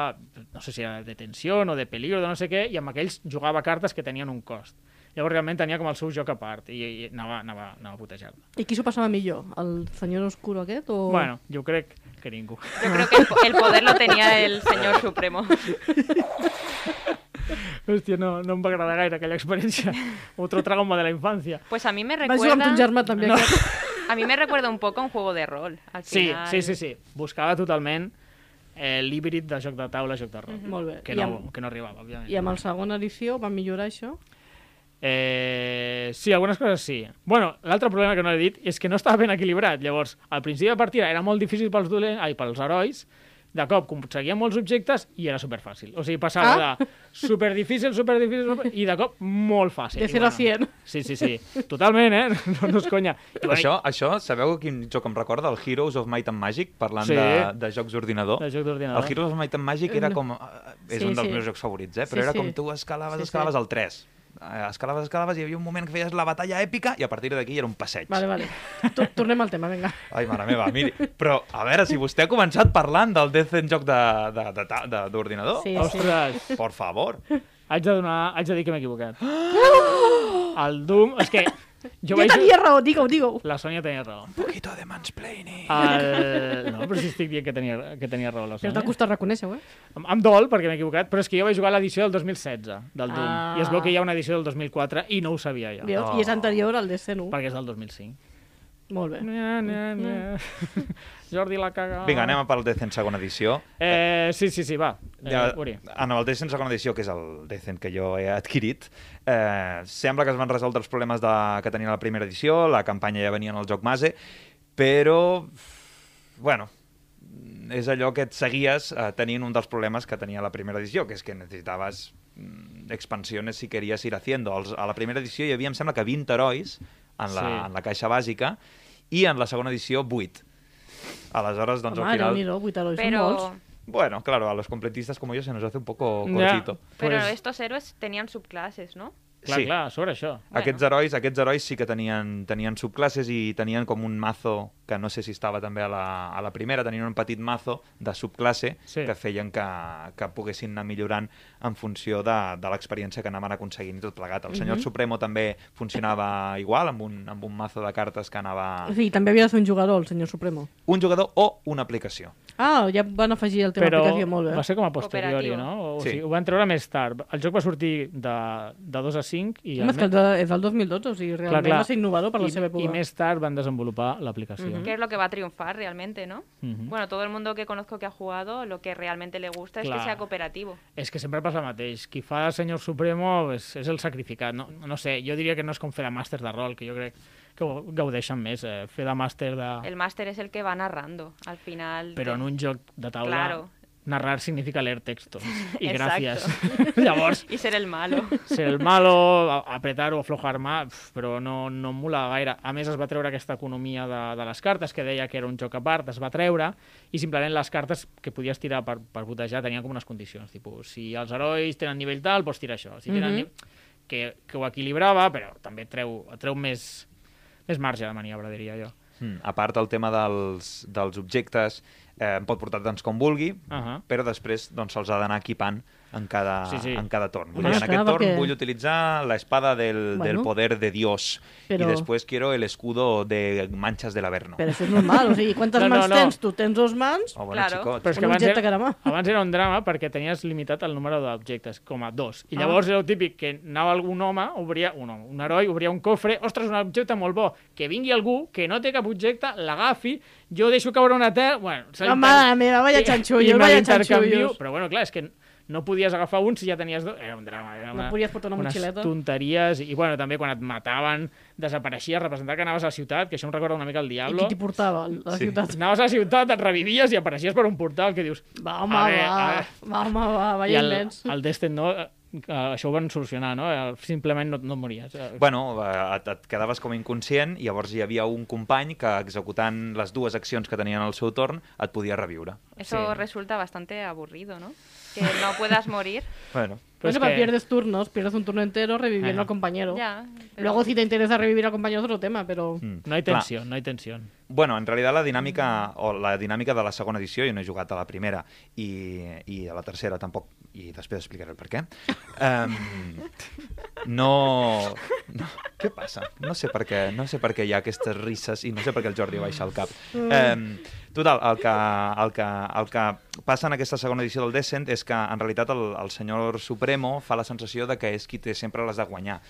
[SPEAKER 1] no sé si era de tensió o de peligro, de no sé què, i amb aquells jugava cartes que tenien un cost. Llavors realment tenia com el seu joc a part i, i anava, anava, anava a putejar-la.
[SPEAKER 2] I qui s'ho passava millor? El senyor oscuro aquest o...
[SPEAKER 1] Bueno, jo crec que ningú.
[SPEAKER 5] Yo creo que el, po- el poder lo tenía el señor supremo.
[SPEAKER 1] (laughs) Hòstia, no, no em va agradar gaire aquella (laughs) experiència. Otro trauma de la infància.
[SPEAKER 5] Pues a mí me
[SPEAKER 2] Vas jugar amb ton
[SPEAKER 5] recuerda.
[SPEAKER 2] germà també. No.
[SPEAKER 5] A mí me recuerda un poco a un juego de rol. Al
[SPEAKER 1] Sí,
[SPEAKER 5] final.
[SPEAKER 1] sí, sí, sí. Buscava totalment eh, l'híbrid de joc de taula, joc de rol.
[SPEAKER 2] Molt bé.
[SPEAKER 1] Que
[SPEAKER 2] I,
[SPEAKER 1] no,
[SPEAKER 2] amb,
[SPEAKER 1] que no arribava, òbviament.
[SPEAKER 2] I amb el segon edició va millorar això?
[SPEAKER 1] Eh, sí, algunes coses sí. Bueno, l'altre problema que no he dit és que no estava ben equilibrat. Llavors, al principi de partida era molt difícil pels, dolents, ai, pels herois, de cop aconseguia molts objectes i era superfàcil. O sigui, passava
[SPEAKER 2] Ah.
[SPEAKER 1] de superdifícil, superdifícil, super... i de cop molt fàcil.
[SPEAKER 2] De
[SPEAKER 1] I,
[SPEAKER 2] 0 a 100.
[SPEAKER 1] Sí, sí, sí. Totalment, eh? No, no és
[SPEAKER 2] (laughs)
[SPEAKER 1] conya. I, bueno,
[SPEAKER 4] Això, això, sabeu quin joc em recorda? El Heroes of Might and Magic, parlant
[SPEAKER 1] Sí.
[SPEAKER 4] sí. de, de jocs d'ordinador.
[SPEAKER 1] De jocs d'ordinador.
[SPEAKER 4] El Heroes of Might and Magic era com... eh, És
[SPEAKER 2] Sí,
[SPEAKER 4] un dels
[SPEAKER 2] sí.
[SPEAKER 4] meus jocs favorits, eh?
[SPEAKER 2] Sí,
[SPEAKER 4] Però era
[SPEAKER 2] sí.
[SPEAKER 4] com tu escalaves,
[SPEAKER 2] Sí, sí.
[SPEAKER 4] escalaves al 3. eh, escalaves, escalaves, i hi havia un moment que feies la batalla èpica i a partir d'aquí ja era un passeig.
[SPEAKER 2] Vale,
[SPEAKER 1] (laughs)
[SPEAKER 2] vale. Tor- Tornem al tema, vinga.
[SPEAKER 4] Ai, mare meva, miri. Però, a veure, si vostè ha començat parlant del Death en joc de- de- de ta- de- d'ordinador,
[SPEAKER 2] Sí, sí.
[SPEAKER 1] Ostres,
[SPEAKER 4] por favor.
[SPEAKER 1] haig de, donar, haig de dir que m'he equivocat. El Doom... És que jo,
[SPEAKER 2] Ah! Jo
[SPEAKER 1] vaig...
[SPEAKER 2] tenia raó, digue-ho, digue-ho.
[SPEAKER 1] La Sònia tenia raó.
[SPEAKER 4] Un poquito de mansplaining.
[SPEAKER 1] El... No, però si estic dient que tenia, que tenia raó la
[SPEAKER 2] Però t'ha
[SPEAKER 1] Sònia.
[SPEAKER 2] costat reconèixer-ho, eh?
[SPEAKER 1] Em, em dol perquè m'he equivocat, però és que jo vaig jugar a l'edició del 2016 del Doom.
[SPEAKER 2] Ah.
[SPEAKER 1] I es veu que hi ha una edició del 2004 i no ho sabia jo.
[SPEAKER 2] Veus? I és anterior al Descent 1.
[SPEAKER 1] Perquè és del
[SPEAKER 2] (laughs)
[SPEAKER 1] 2005.
[SPEAKER 2] Molt bé.
[SPEAKER 1] Nya, nya, nya. (laughs) Jordi la
[SPEAKER 2] Ah.
[SPEAKER 1] caga.
[SPEAKER 4] Vinga, anem a pel Death en segona edició.
[SPEAKER 1] Eh, sí, sí, sí, va. Eh,
[SPEAKER 4] Ja,
[SPEAKER 1] ja. Uri.
[SPEAKER 4] en el Descent segona edició, que és el Descent que jo he adquirit, eh, sembla que es van resoldre els problemes de, que tenia la primera edició, la campanya ja venia en el joc base, però, bueno, és allò que et seguies eh, tenint un dels problemes que tenia la primera edició, que és que necessitaves mm, expansiones si queries ir haciendo. Els, a la primera edició hi havia, em sembla que 20 herois en la,
[SPEAKER 1] Sí.
[SPEAKER 4] en la caixa bàsica i en la segona edició 8. Aleshores, doncs,
[SPEAKER 2] Home,
[SPEAKER 4] al final...
[SPEAKER 2] Déu-n'hi-do, 8 herois són molts.
[SPEAKER 5] Pero,
[SPEAKER 4] Bueno, claro, a los completistas como yo se nos hace un poco cortito.
[SPEAKER 5] pero
[SPEAKER 1] pues,
[SPEAKER 5] estos héroes tenían subclases, ¿no?
[SPEAKER 1] clar,
[SPEAKER 4] sí.
[SPEAKER 1] clar, sobre això.
[SPEAKER 5] Bueno.
[SPEAKER 4] Aquests herois, aquests herois sí que tenien, tenien subclasses i tenien com un mazo que no sé si estava també a la, a la primera, tenien un petit mazo de subclasse
[SPEAKER 1] Sí.
[SPEAKER 4] que feien que, que poguessin anar millorant en funció de, de l'experiència que anaven aconseguint i tot plegat. El senyor Supremo també funcionava igual, amb un, amb un mazo de cartes que anava...
[SPEAKER 2] O sigui, també havia de ser un jugador, el senyor Supremo.
[SPEAKER 4] Un jugador o una aplicació.
[SPEAKER 2] Ah, ja van afegir el tema
[SPEAKER 1] però
[SPEAKER 2] aplicació, molt bé.
[SPEAKER 1] va ser com a posteriori,
[SPEAKER 5] Cooperatiu.
[SPEAKER 1] no? O,
[SPEAKER 4] Sí.
[SPEAKER 1] sí. sigui, ho van treure més tard. El joc va sortir de, de 2 a 5 i...
[SPEAKER 2] Home, és que el de, és del 2012, o sigui, realment clar, clar. va ser innovador per la
[SPEAKER 1] I,
[SPEAKER 2] seva època.
[SPEAKER 1] I més tard van desenvolupar l'aplicació. Mm-hmm.
[SPEAKER 5] Que es lo que va a triunfar realmente, ¿no?
[SPEAKER 1] Ujú.
[SPEAKER 5] Bueno, todo el mundo que conozco que ha jugado, lo que realmente le gusta es
[SPEAKER 1] Claro.
[SPEAKER 5] que sea cooperativo.
[SPEAKER 1] És que sempre passa el mateix. Qui fa el senyor Supremo és, és el sacrificat. No, no sé, jo diria que no és com fer la màster de rol, que jo crec que ho gaudeixen més, eh? fer la màster de...
[SPEAKER 5] El máster es el que va narrando al final.
[SPEAKER 1] Però
[SPEAKER 5] de-
[SPEAKER 1] en un (laughs) joc de taula...
[SPEAKER 5] Claro.
[SPEAKER 1] Narrar significa leer
[SPEAKER 5] (laughs)
[SPEAKER 1] textos. I
[SPEAKER 5] Exacto.
[SPEAKER 1] gràcies. (laughs) Llavors,
[SPEAKER 5] (laughs) Y ser el malo.
[SPEAKER 1] ser el malo, a- apretar o aflojar mà, pf, però no, no em mola gaire. A més, es va treure aquesta economia de, de les cartes, que deia que era un joc a part, es va treure, i simplement les cartes que podies tirar per, per botejar tenien com unes condicions, tipus, si els herois tenen nivell tal, pots tirar això. Si tenen
[SPEAKER 2] Mhm.
[SPEAKER 1] nivell... que, que ho equilibrava, però també treu, treu més, més marge de maniobra, diria jo.
[SPEAKER 4] Mm. A part, el tema dels, dels objectes eh, en pot portar tants com vulgui,
[SPEAKER 1] Ahà.
[SPEAKER 4] però després doncs, se'ls ha d'anar equipant en cada,
[SPEAKER 1] Sí,
[SPEAKER 4] sí,
[SPEAKER 1] sí.
[SPEAKER 4] sí. en cada torn. Vull
[SPEAKER 2] Home,
[SPEAKER 4] dir, en
[SPEAKER 2] clar,
[SPEAKER 4] aquest torn
[SPEAKER 2] perquè-
[SPEAKER 4] vull utilitzar l'espada del, bueno, del
[SPEAKER 2] Bueno.
[SPEAKER 4] poder de Dios
[SPEAKER 2] Però-
[SPEAKER 4] però... i després quiero el escudo de manchas del Averno.
[SPEAKER 2] Però això és normal, o sigui, quantes
[SPEAKER 1] No,
[SPEAKER 2] no,
[SPEAKER 1] no,
[SPEAKER 2] mans
[SPEAKER 1] no.
[SPEAKER 2] no, no. tens tu? Tens dos mans?
[SPEAKER 4] Oh, bueno, claro.
[SPEAKER 5] Claro.
[SPEAKER 4] xicots.
[SPEAKER 1] Però és que
[SPEAKER 2] Un
[SPEAKER 1] abans
[SPEAKER 2] objecte
[SPEAKER 1] era,
[SPEAKER 2] cada mà.
[SPEAKER 1] abans era un drama perquè tenies limitat el número d'objectes, com a dos. I llavors ah. era el típic que anava un home, obria, un home, un heroi, obria un cofre, ostres, un objecte molt bo, que vingui algú que no té cap objecte, l'agafi, jo deixo caure una terra... Bueno, se
[SPEAKER 2] La
[SPEAKER 1] l'inter-
[SPEAKER 2] Ah, mare meva, vaya
[SPEAKER 1] I-
[SPEAKER 2] chanchullos,
[SPEAKER 1] i me
[SPEAKER 2] vaya
[SPEAKER 1] l'intercanvio,
[SPEAKER 2] chanchullos.
[SPEAKER 1] Però bueno, clar, és que no podies agafar un si ja tenies dos. Era un drama. Era una,
[SPEAKER 2] No podies portar una
[SPEAKER 1] unes
[SPEAKER 2] motxileta.
[SPEAKER 1] tonteries. I bueno, també quan et mataven, desapareixia, representar que anaves a la ciutat, que això em recorda una mica el
[SPEAKER 2] I
[SPEAKER 1] Diablo.
[SPEAKER 2] qui t'hi portava? A la
[SPEAKER 4] Sí.
[SPEAKER 2] sí. ciutat?
[SPEAKER 1] Anaves a la ciutat, et revivies i apareixies per un portal que dius...
[SPEAKER 2] Va, home,
[SPEAKER 1] "A
[SPEAKER 2] va,
[SPEAKER 1] ver, a ver".
[SPEAKER 2] va, home, va,
[SPEAKER 1] I
[SPEAKER 2] vaya
[SPEAKER 1] el,
[SPEAKER 2] immens.
[SPEAKER 1] el Destin, no? eh, eh, Això ho van solucionar, no? Eh, Simplement no, no et mories. Eh,
[SPEAKER 4] Bueno, eh, et, et quedaves com inconscient i llavors hi havia un company que executant les dues accions que tenien al seu torn et podia reviure.
[SPEAKER 5] Eso
[SPEAKER 1] Sí.
[SPEAKER 5] resulta bastante aburrido, ¿no? Que no puedas
[SPEAKER 1] (laughs)
[SPEAKER 5] morir.
[SPEAKER 4] Bueno,
[SPEAKER 1] però és
[SPEAKER 2] Bueno, pero pierdes turnos, pierdes un turno entero reviviendo
[SPEAKER 1] Ajá.
[SPEAKER 2] al compañero.
[SPEAKER 5] Ya. pero-
[SPEAKER 2] Luego, si te interesa revivir al compañero, es otro tema, pero...
[SPEAKER 4] mm,
[SPEAKER 1] No hi
[SPEAKER 4] clar.
[SPEAKER 1] tensió, no hi tensió.
[SPEAKER 4] Bueno, en realitat la dinàmica o la dinàmica de la segona edició, jo no he jugat a la primera i, i a la tercera tampoc, i després explicaré el per què. Um, no, no... Què passa? No sé per què, no sé per què hi ha aquestes risses i no sé per què el Jordi baixa el cap.
[SPEAKER 2] Mm.
[SPEAKER 4] Um, total, el que, el, que, el que passa en aquesta segona edició del Descent és que en realitat el, el senyor Supremo fa la sensació de que és qui té sempre les de guanyar.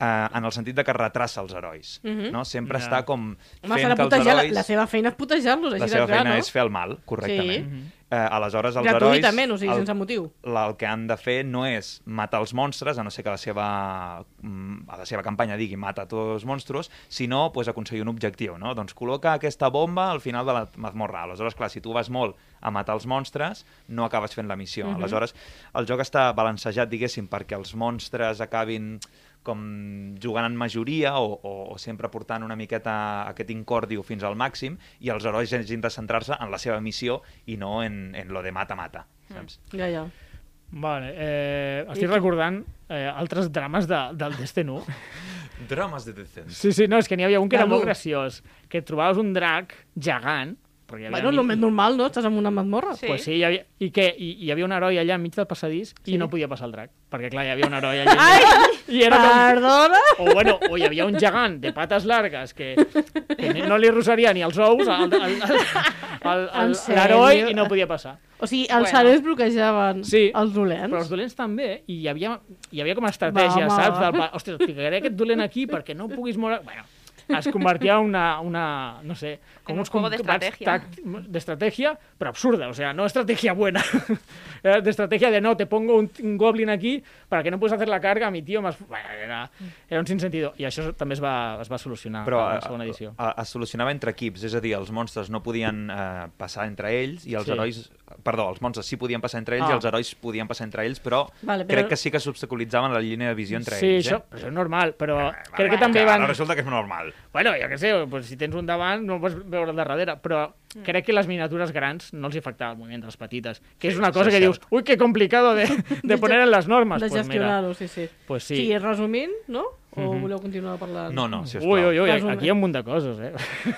[SPEAKER 4] Uh, en el sentit de que retrasa els herois,
[SPEAKER 2] Mhm.
[SPEAKER 4] no? Sempre
[SPEAKER 1] Ja.
[SPEAKER 4] està com
[SPEAKER 2] Home,
[SPEAKER 4] fent
[SPEAKER 2] s'ha de
[SPEAKER 4] que els
[SPEAKER 2] putejar, la,
[SPEAKER 4] herois-
[SPEAKER 2] la seva feina és putejar-los,
[SPEAKER 4] la
[SPEAKER 2] així de
[SPEAKER 4] seva
[SPEAKER 2] clar,
[SPEAKER 4] feina
[SPEAKER 2] no?
[SPEAKER 4] és fer el mal, correctament.
[SPEAKER 2] Sí.
[SPEAKER 4] Sí. Eh, aleshores, els
[SPEAKER 2] Gratuïtament, o
[SPEAKER 4] herois...
[SPEAKER 2] sigui, sense motiu.
[SPEAKER 4] la- El que han de fer no és matar els monstres, a no ser que la seva, mm, a la seva campanya digui mata tots els monstruos, sinó pues, aconseguir un objectiu. No? Doncs col·loca aquesta bomba al final de la mazmorra. Aleshores, clar, si tu vas molt a matar els monstres, no acabes fent la missió. Uh -huh. Aleshores, el joc està balancejat, diguéssim, perquè els monstres acabin com jugant en majoria o, o, o sempre portant una miqueta aquest incòrdio fins al màxim i els herois hagin de centrar-se en la seva missió i no en, en lo de mata-mata, saps?
[SPEAKER 2] Ja, ja.
[SPEAKER 1] Vale, eh, estic recordant eh, altres drames de, del Destiny 1.
[SPEAKER 6] Drames de descens.
[SPEAKER 1] Sí, sí, no, és que n'hi havia un que era
[SPEAKER 2] Del
[SPEAKER 1] molt
[SPEAKER 2] u.
[SPEAKER 1] graciós, que et trobaves un drac gegant, perquè hi havia
[SPEAKER 2] Bueno, és el
[SPEAKER 1] mig-
[SPEAKER 2] més normal, no? Estàs en una mazmorra.
[SPEAKER 5] Sí.
[SPEAKER 1] Pues sí, hi havia, i, que, i, hi havia un heroi allà enmig del passadís sí. i no podia passar el drac, perquè clar, hi havia un heroi (laughs) allà i era com...
[SPEAKER 2] Perdona?
[SPEAKER 1] O, bueno, o hi havia un gegant de pates largues que, que ni- no li rosaria ni els ous al- al- al- al-
[SPEAKER 2] En
[SPEAKER 1] al-
[SPEAKER 2] sèrio?
[SPEAKER 1] l'heroi i no podia passar.
[SPEAKER 2] O sigui, els
[SPEAKER 5] Bueno.
[SPEAKER 2] bueno. herois bloquejaven
[SPEAKER 1] Sí.
[SPEAKER 2] els dolents.
[SPEAKER 1] Però els dolents també, i hi havia, hi havia com a estratègia,
[SPEAKER 2] Va, va,
[SPEAKER 1] saps?
[SPEAKER 2] va.
[SPEAKER 1] Del, pa- Ostres, et ficaré aquest dolent aquí perquè no puguis moure... Bueno, es convertia en una, una, no sé,
[SPEAKER 5] En
[SPEAKER 1] com
[SPEAKER 5] un
[SPEAKER 1] uns
[SPEAKER 5] juego de
[SPEAKER 1] combats
[SPEAKER 5] estrategia.
[SPEAKER 1] tact- de estrategia, pero absurda, o sea, no estrategia buena, (laughs) Era de estrategia de no, te pongo un, un goblin aquí para que no puedes hacer la carga, mi tío, más... Bueno, era, era un sinsentido, i això també es va, es va solucionar
[SPEAKER 4] Ah, Però eh,
[SPEAKER 1] a
[SPEAKER 4] a,
[SPEAKER 1] la segona edició.
[SPEAKER 4] a, es solucionava entre equips, és a dir, els monstres no podien eh, passar entre ells i els
[SPEAKER 1] Sí.
[SPEAKER 4] sí. herois... Perdó, els monstres sí podien passar entre ells
[SPEAKER 1] Ah.
[SPEAKER 4] ah. i els herois podien passar entre ells, però,
[SPEAKER 2] Vale, però-
[SPEAKER 4] crec que sí que s'obstaculitzava la línia de visió entre
[SPEAKER 1] sí,
[SPEAKER 4] ells.
[SPEAKER 1] això,
[SPEAKER 4] Eh?
[SPEAKER 1] però això és normal, però crec
[SPEAKER 6] Vale,
[SPEAKER 1] que també
[SPEAKER 6] que
[SPEAKER 1] van...
[SPEAKER 6] Ara resulta que és normal.
[SPEAKER 1] Bueno, jo què sé, pues, si tens un davant no pots veure el de darrere, però crec que les miniatures grans no els hi afectava el moviment de les petites, que és una cosa
[SPEAKER 4] és
[SPEAKER 1] que dius,
[SPEAKER 4] cert.
[SPEAKER 1] ui, que complicado de, de poner en les normes.
[SPEAKER 2] De
[SPEAKER 1] Pues mira,
[SPEAKER 2] gestionar-ho, sí, sí.
[SPEAKER 1] pues
[SPEAKER 2] Sí.
[SPEAKER 1] sí. Mhm.
[SPEAKER 2] sí, resumint, no? O voleu continuar parlant?
[SPEAKER 4] No, no, sisplau.
[SPEAKER 1] Ui, ui, ui,
[SPEAKER 2] Resum.
[SPEAKER 1] aquí hi ha un munt de coses, eh?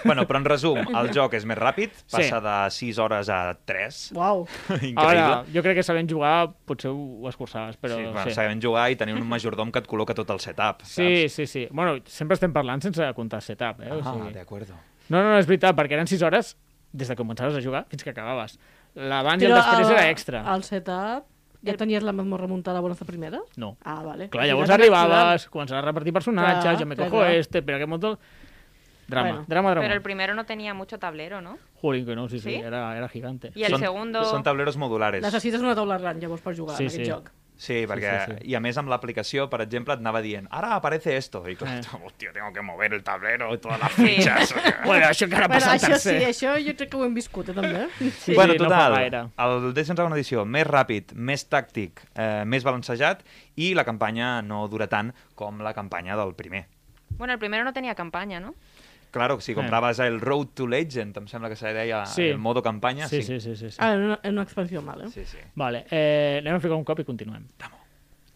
[SPEAKER 4] Bueno, però en
[SPEAKER 1] (laughs)
[SPEAKER 4] resum, el joc és més ràpid,
[SPEAKER 1] Sí.
[SPEAKER 4] passa de 6 hores a 3.
[SPEAKER 2] Uau.
[SPEAKER 4] (laughs) Increïble.
[SPEAKER 1] Ara, jo crec que sabent jugar potser ho esforçaves, però
[SPEAKER 4] sí, bueno,
[SPEAKER 1] sí.
[SPEAKER 4] sabem jugar i tenir un majordom que et col·loca tot el setup,
[SPEAKER 1] Sí,
[SPEAKER 4] saps?
[SPEAKER 1] sí, sí. Bueno, sempre estem parlant sense comptar setup, eh? O
[SPEAKER 4] Ah,
[SPEAKER 1] sigui...
[SPEAKER 4] d'acord.
[SPEAKER 1] No, no, no, és veritat, perquè eren 6 hores des de que començaves a jugar fins que acabaves. L'abans i el
[SPEAKER 2] Però
[SPEAKER 1] després
[SPEAKER 2] el-
[SPEAKER 1] era extra.
[SPEAKER 2] El setup... Ja tenies la mazmorra muntada a bones de primeres?
[SPEAKER 1] No.
[SPEAKER 2] Ah, vale.
[SPEAKER 1] Clar,
[SPEAKER 2] O
[SPEAKER 1] llavors
[SPEAKER 2] sigui, t'has anat
[SPEAKER 1] arribaves, començaves a repartir personatges,
[SPEAKER 2] Clar,
[SPEAKER 1] jo me
[SPEAKER 2] clar,
[SPEAKER 1] cojo
[SPEAKER 2] clar.
[SPEAKER 1] este, però aquest montón... Drama,
[SPEAKER 2] Bueno.
[SPEAKER 1] drama, drama.
[SPEAKER 5] Pero el primero no tenía mucho tablero, ¿no?
[SPEAKER 1] Jolín, que no, sí, sí,
[SPEAKER 5] ¿Sí?
[SPEAKER 1] era, era gigante.
[SPEAKER 5] Y el segundo...
[SPEAKER 4] Són tableros modulares.
[SPEAKER 2] jugant. Necessites una taula gran, llavors, per jugar
[SPEAKER 1] Sí,
[SPEAKER 2] sí, en aquest
[SPEAKER 1] sí.
[SPEAKER 2] sí. joc.
[SPEAKER 4] Sí, perquè...
[SPEAKER 1] sí,
[SPEAKER 4] Sí, sí, sí. I a més, amb l'aplicació, per exemple, et anava dient ara aparece esto. I (laughs) clar,
[SPEAKER 1] Eh.
[SPEAKER 4] eh.
[SPEAKER 6] Hòstia, tengo que mover el tablero y todas las
[SPEAKER 5] Sí.
[SPEAKER 6] fichas.
[SPEAKER 1] (laughs) Bueno, això encara
[SPEAKER 2] Bueno,
[SPEAKER 1] passa el
[SPEAKER 2] això sí,
[SPEAKER 1] tercer.
[SPEAKER 2] això jo crec que ho hem viscut, eh, també.
[SPEAKER 1] Sí,
[SPEAKER 4] bueno,
[SPEAKER 1] sí, no fa
[SPEAKER 4] total,
[SPEAKER 1] gaire.
[SPEAKER 4] el Descent segona edició, més ràpid, més tàctic, eh, més balancejat, i la campanya no dura tant com la campanya del primer.
[SPEAKER 5] Bueno, el primero no tenía campaña, ¿no?
[SPEAKER 4] Claro, si compraves el Road to Legend, em sembla que se deia
[SPEAKER 1] Sí.
[SPEAKER 4] el modo campanya,
[SPEAKER 1] Sí, sí,
[SPEAKER 4] sí.
[SPEAKER 1] sí, sí. sí.
[SPEAKER 2] Ah, en una, en una expansió mal, eh? Sí.
[SPEAKER 4] sí, sí.
[SPEAKER 1] Vale, eh, anem a ficar un cop i continuem.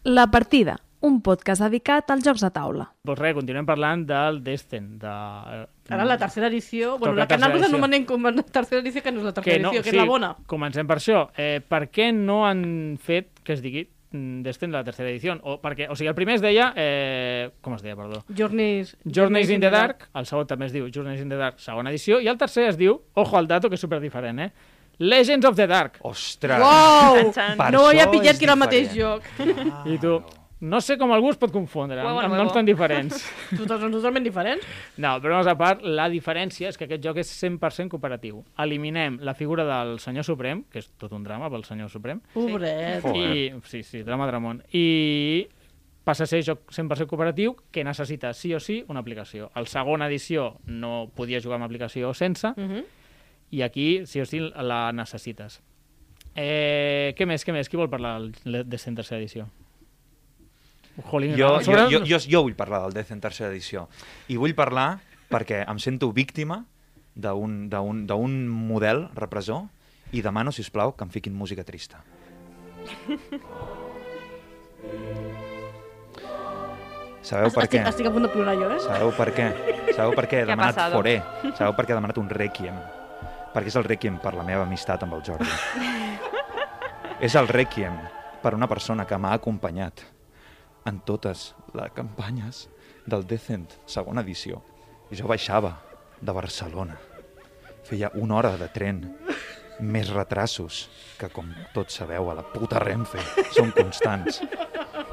[SPEAKER 7] La partida, un podcast dedicat als jocs de taula.
[SPEAKER 1] Doncs res, continuem parlant del Destin, de...
[SPEAKER 2] Ara la tercera edició... Bueno,
[SPEAKER 1] Toca
[SPEAKER 2] la que
[SPEAKER 1] tercera
[SPEAKER 2] nosaltres
[SPEAKER 1] edició.
[SPEAKER 2] anomenem com a tercera edició, que no és la tercera
[SPEAKER 1] que no,
[SPEAKER 2] edició, que
[SPEAKER 1] sí,
[SPEAKER 2] és la bona.
[SPEAKER 1] Comencem per això. Eh, per què no han fet que es digui mm, Destin la tercera edició? O, perquè, o sigui, el primer es deia... Eh, com es deia, perdó?
[SPEAKER 2] Journeys,
[SPEAKER 1] Journeys in the Dark, el segon també es diu Journeys in the Dark, segona edició, i el tercer es diu, ojo al dato, que és superdiferent, eh? Legends of the Dark.
[SPEAKER 4] Ostres!
[SPEAKER 2] Wow!
[SPEAKER 5] Chan, chan.
[SPEAKER 4] Per
[SPEAKER 2] no havia
[SPEAKER 4] això
[SPEAKER 2] pillat
[SPEAKER 4] és
[SPEAKER 2] que era el mateix
[SPEAKER 4] diferent.
[SPEAKER 2] joc. (laughs)
[SPEAKER 4] Ah,
[SPEAKER 1] I tu, no sé com algú es pot confondre,
[SPEAKER 5] Juego
[SPEAKER 1] amb, amb
[SPEAKER 5] nuevo.
[SPEAKER 1] noms tan diferents. (laughs)
[SPEAKER 2] Total, són totalment diferents.
[SPEAKER 1] No, però a part, la diferència és que aquest joc és 100% cooperatiu. Eliminem la figura del senyor Suprem, que és tot un drama pel senyor Suprem,
[SPEAKER 2] Pobret.
[SPEAKER 1] i,
[SPEAKER 4] eh?
[SPEAKER 1] sí, sí, drama dramón, i passa a ser joc 100% cooperatiu que necessita sí o sí una aplicació. El segon edició no podia jugar amb aplicació sense,
[SPEAKER 2] Uh -huh.
[SPEAKER 1] i aquí sí o sí la necessites. Eh, què més, què més? Qui vol parlar del Descent tercera edició? Jolín,
[SPEAKER 4] Jo,
[SPEAKER 1] a
[SPEAKER 4] jo,
[SPEAKER 1] sobre-
[SPEAKER 4] jo, jo, jo vull parlar del Death en tercera edició. I vull parlar perquè em sento víctima d'un d'un- d'un model repressor i demano, si plau, que em fiquin
[SPEAKER 2] (laughs)
[SPEAKER 4] música trista. Sabeu per
[SPEAKER 2] estic,
[SPEAKER 4] què?
[SPEAKER 2] estic a punt de plorar jo, eh?
[SPEAKER 4] Sabeu per què? Sabeu per què he
[SPEAKER 5] Què ha
[SPEAKER 4] demanat
[SPEAKER 5] passado?
[SPEAKER 4] foré? Sabeu per què he demanat un rèquiem? Perquè és el rèquiem per la meva amistat amb el
[SPEAKER 5] (laughs)
[SPEAKER 4] Jordi. és el rèquiem per una persona que m'ha acompanyat en totes les campanyes del Decent segona edició. Jo baixava de Barcelona. Feia una hora de tren. Més retrasos, que com tots sabeu a la puta Renfe són constants.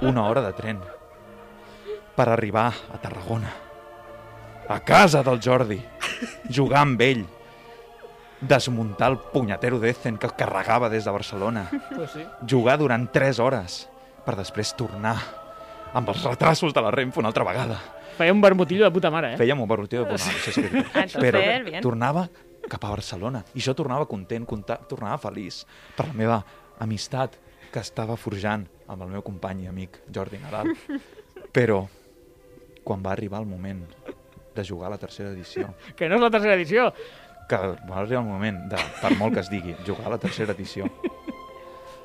[SPEAKER 4] Una hora de tren per arribar a Tarragona. A casa del Jordi. Jugar amb ell. Desmuntar el punyetero d'Ezen que carregava des de Barcelona.
[SPEAKER 1] Pues sí.
[SPEAKER 4] Jugar durant 3 hores per després tornar amb els retrasos de la Renfe una altra vegada.
[SPEAKER 1] Feia un vermutillo de puta mare, eh?
[SPEAKER 4] Fèiem un barrotiu de
[SPEAKER 5] (laughs)
[SPEAKER 4] bona, això és veritat.
[SPEAKER 5] Ah, entonces,
[SPEAKER 4] Però
[SPEAKER 5] bien.
[SPEAKER 4] tornava cap a Barcelona i jo tornava content, conta, tornava feliç per la meva amistat que estava forjant amb el meu company i amic Jordi
[SPEAKER 5] (laughs)
[SPEAKER 4] Nadal. Però quan va arribar el moment de jugar a la tercera edició,
[SPEAKER 1] Que no és la tercera edició.
[SPEAKER 4] que va arribar el moment de, per molt que es digui, jugar a la tercera edició,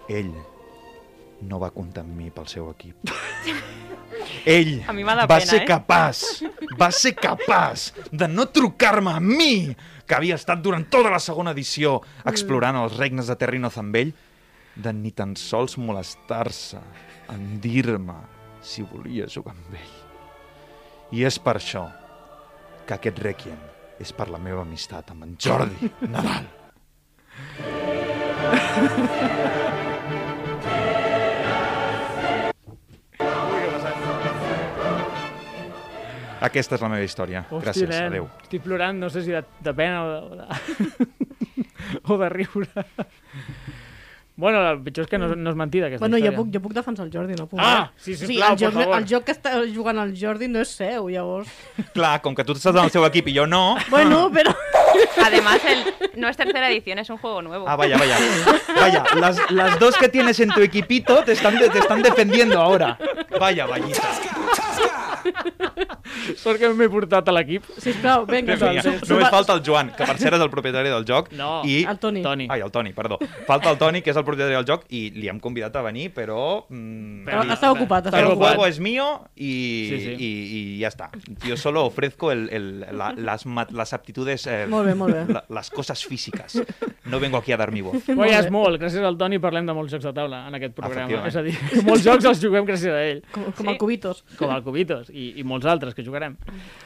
[SPEAKER 4] ell no va comptar amb mi pel seu equip. Ell
[SPEAKER 5] A mi m'ha de
[SPEAKER 4] va
[SPEAKER 5] pena,
[SPEAKER 4] ser
[SPEAKER 5] eh?
[SPEAKER 4] capaç, va ser capaç de no trucar-me a mi, que havia estat durant tota la segona edició
[SPEAKER 5] Mm.
[SPEAKER 4] explorant els regnes de Terrino Zambell, de ni tan sols molestar-se en dir-me si volia jugar amb ell. I és per això que aquest Requiem és per la meva amistat amb en Jordi Nadal. Aquesta és la meva història.
[SPEAKER 1] Hosti,
[SPEAKER 4] Gràcies,
[SPEAKER 1] nen,
[SPEAKER 4] adeu.
[SPEAKER 1] Estic plorant, no sé si de, de pena o de, o de, (laughs) o de riure. Bueno, el pitjor és que no, no és mentida aquesta
[SPEAKER 2] Bueno, jo
[SPEAKER 1] història.
[SPEAKER 2] puc, jo puc defensar el Jordi, no puc. eh?
[SPEAKER 1] Ah, sí,
[SPEAKER 2] o sigui,
[SPEAKER 1] sisplau,
[SPEAKER 2] el, joc,
[SPEAKER 1] per favor. Ah.
[SPEAKER 2] el joc que està jugant el Jordi no és seu, llavors...
[SPEAKER 4] Clar, com que tu estàs en el seu equip i jo no...
[SPEAKER 2] Bueno, però... (laughs)
[SPEAKER 5] Además, el, no es tercera edición, es un juego nuevo.
[SPEAKER 4] Ah, vaya, vaya. Vaya, las, las dos que tienes en tu equipito te están, te están defendiendo ahora. Vaya, vallita.
[SPEAKER 1] Sort que m'he portat a l'equip.
[SPEAKER 2] Sisplau, vinga,
[SPEAKER 4] Vinga,
[SPEAKER 2] su- su-
[SPEAKER 4] Només falta el Joan, que per cert és el propietari del joc.
[SPEAKER 1] No,
[SPEAKER 4] i...
[SPEAKER 2] El Toni.
[SPEAKER 1] Toni.
[SPEAKER 4] Ai, el Toni, perdó. Falta el Toni, que és el propietari del joc, i li hem convidat a venir, però... mm,
[SPEAKER 2] Però
[SPEAKER 4] li-
[SPEAKER 2] està ocupat, està
[SPEAKER 4] El
[SPEAKER 1] ocupat.
[SPEAKER 4] juego es mío y,
[SPEAKER 1] Sí, sí.
[SPEAKER 4] y- y ya está. Yo solo ofrezco el- el- la- las, ma- las aptitudes, eh,
[SPEAKER 2] Molt bé, molt bé.
[SPEAKER 4] la- las cosas físicas. No vengo aquí a dar mi voz.
[SPEAKER 1] Bueno, ja és molt. Gràcies al Toni parlem de molts jocs de taula en aquest programa.
[SPEAKER 4] Efectivament.
[SPEAKER 1] És a dir, molts jocs els juguem gràcies a ell.
[SPEAKER 2] Com, com el Cubitos.
[SPEAKER 1] Com el Cubitos i, i molts altres que jugarem.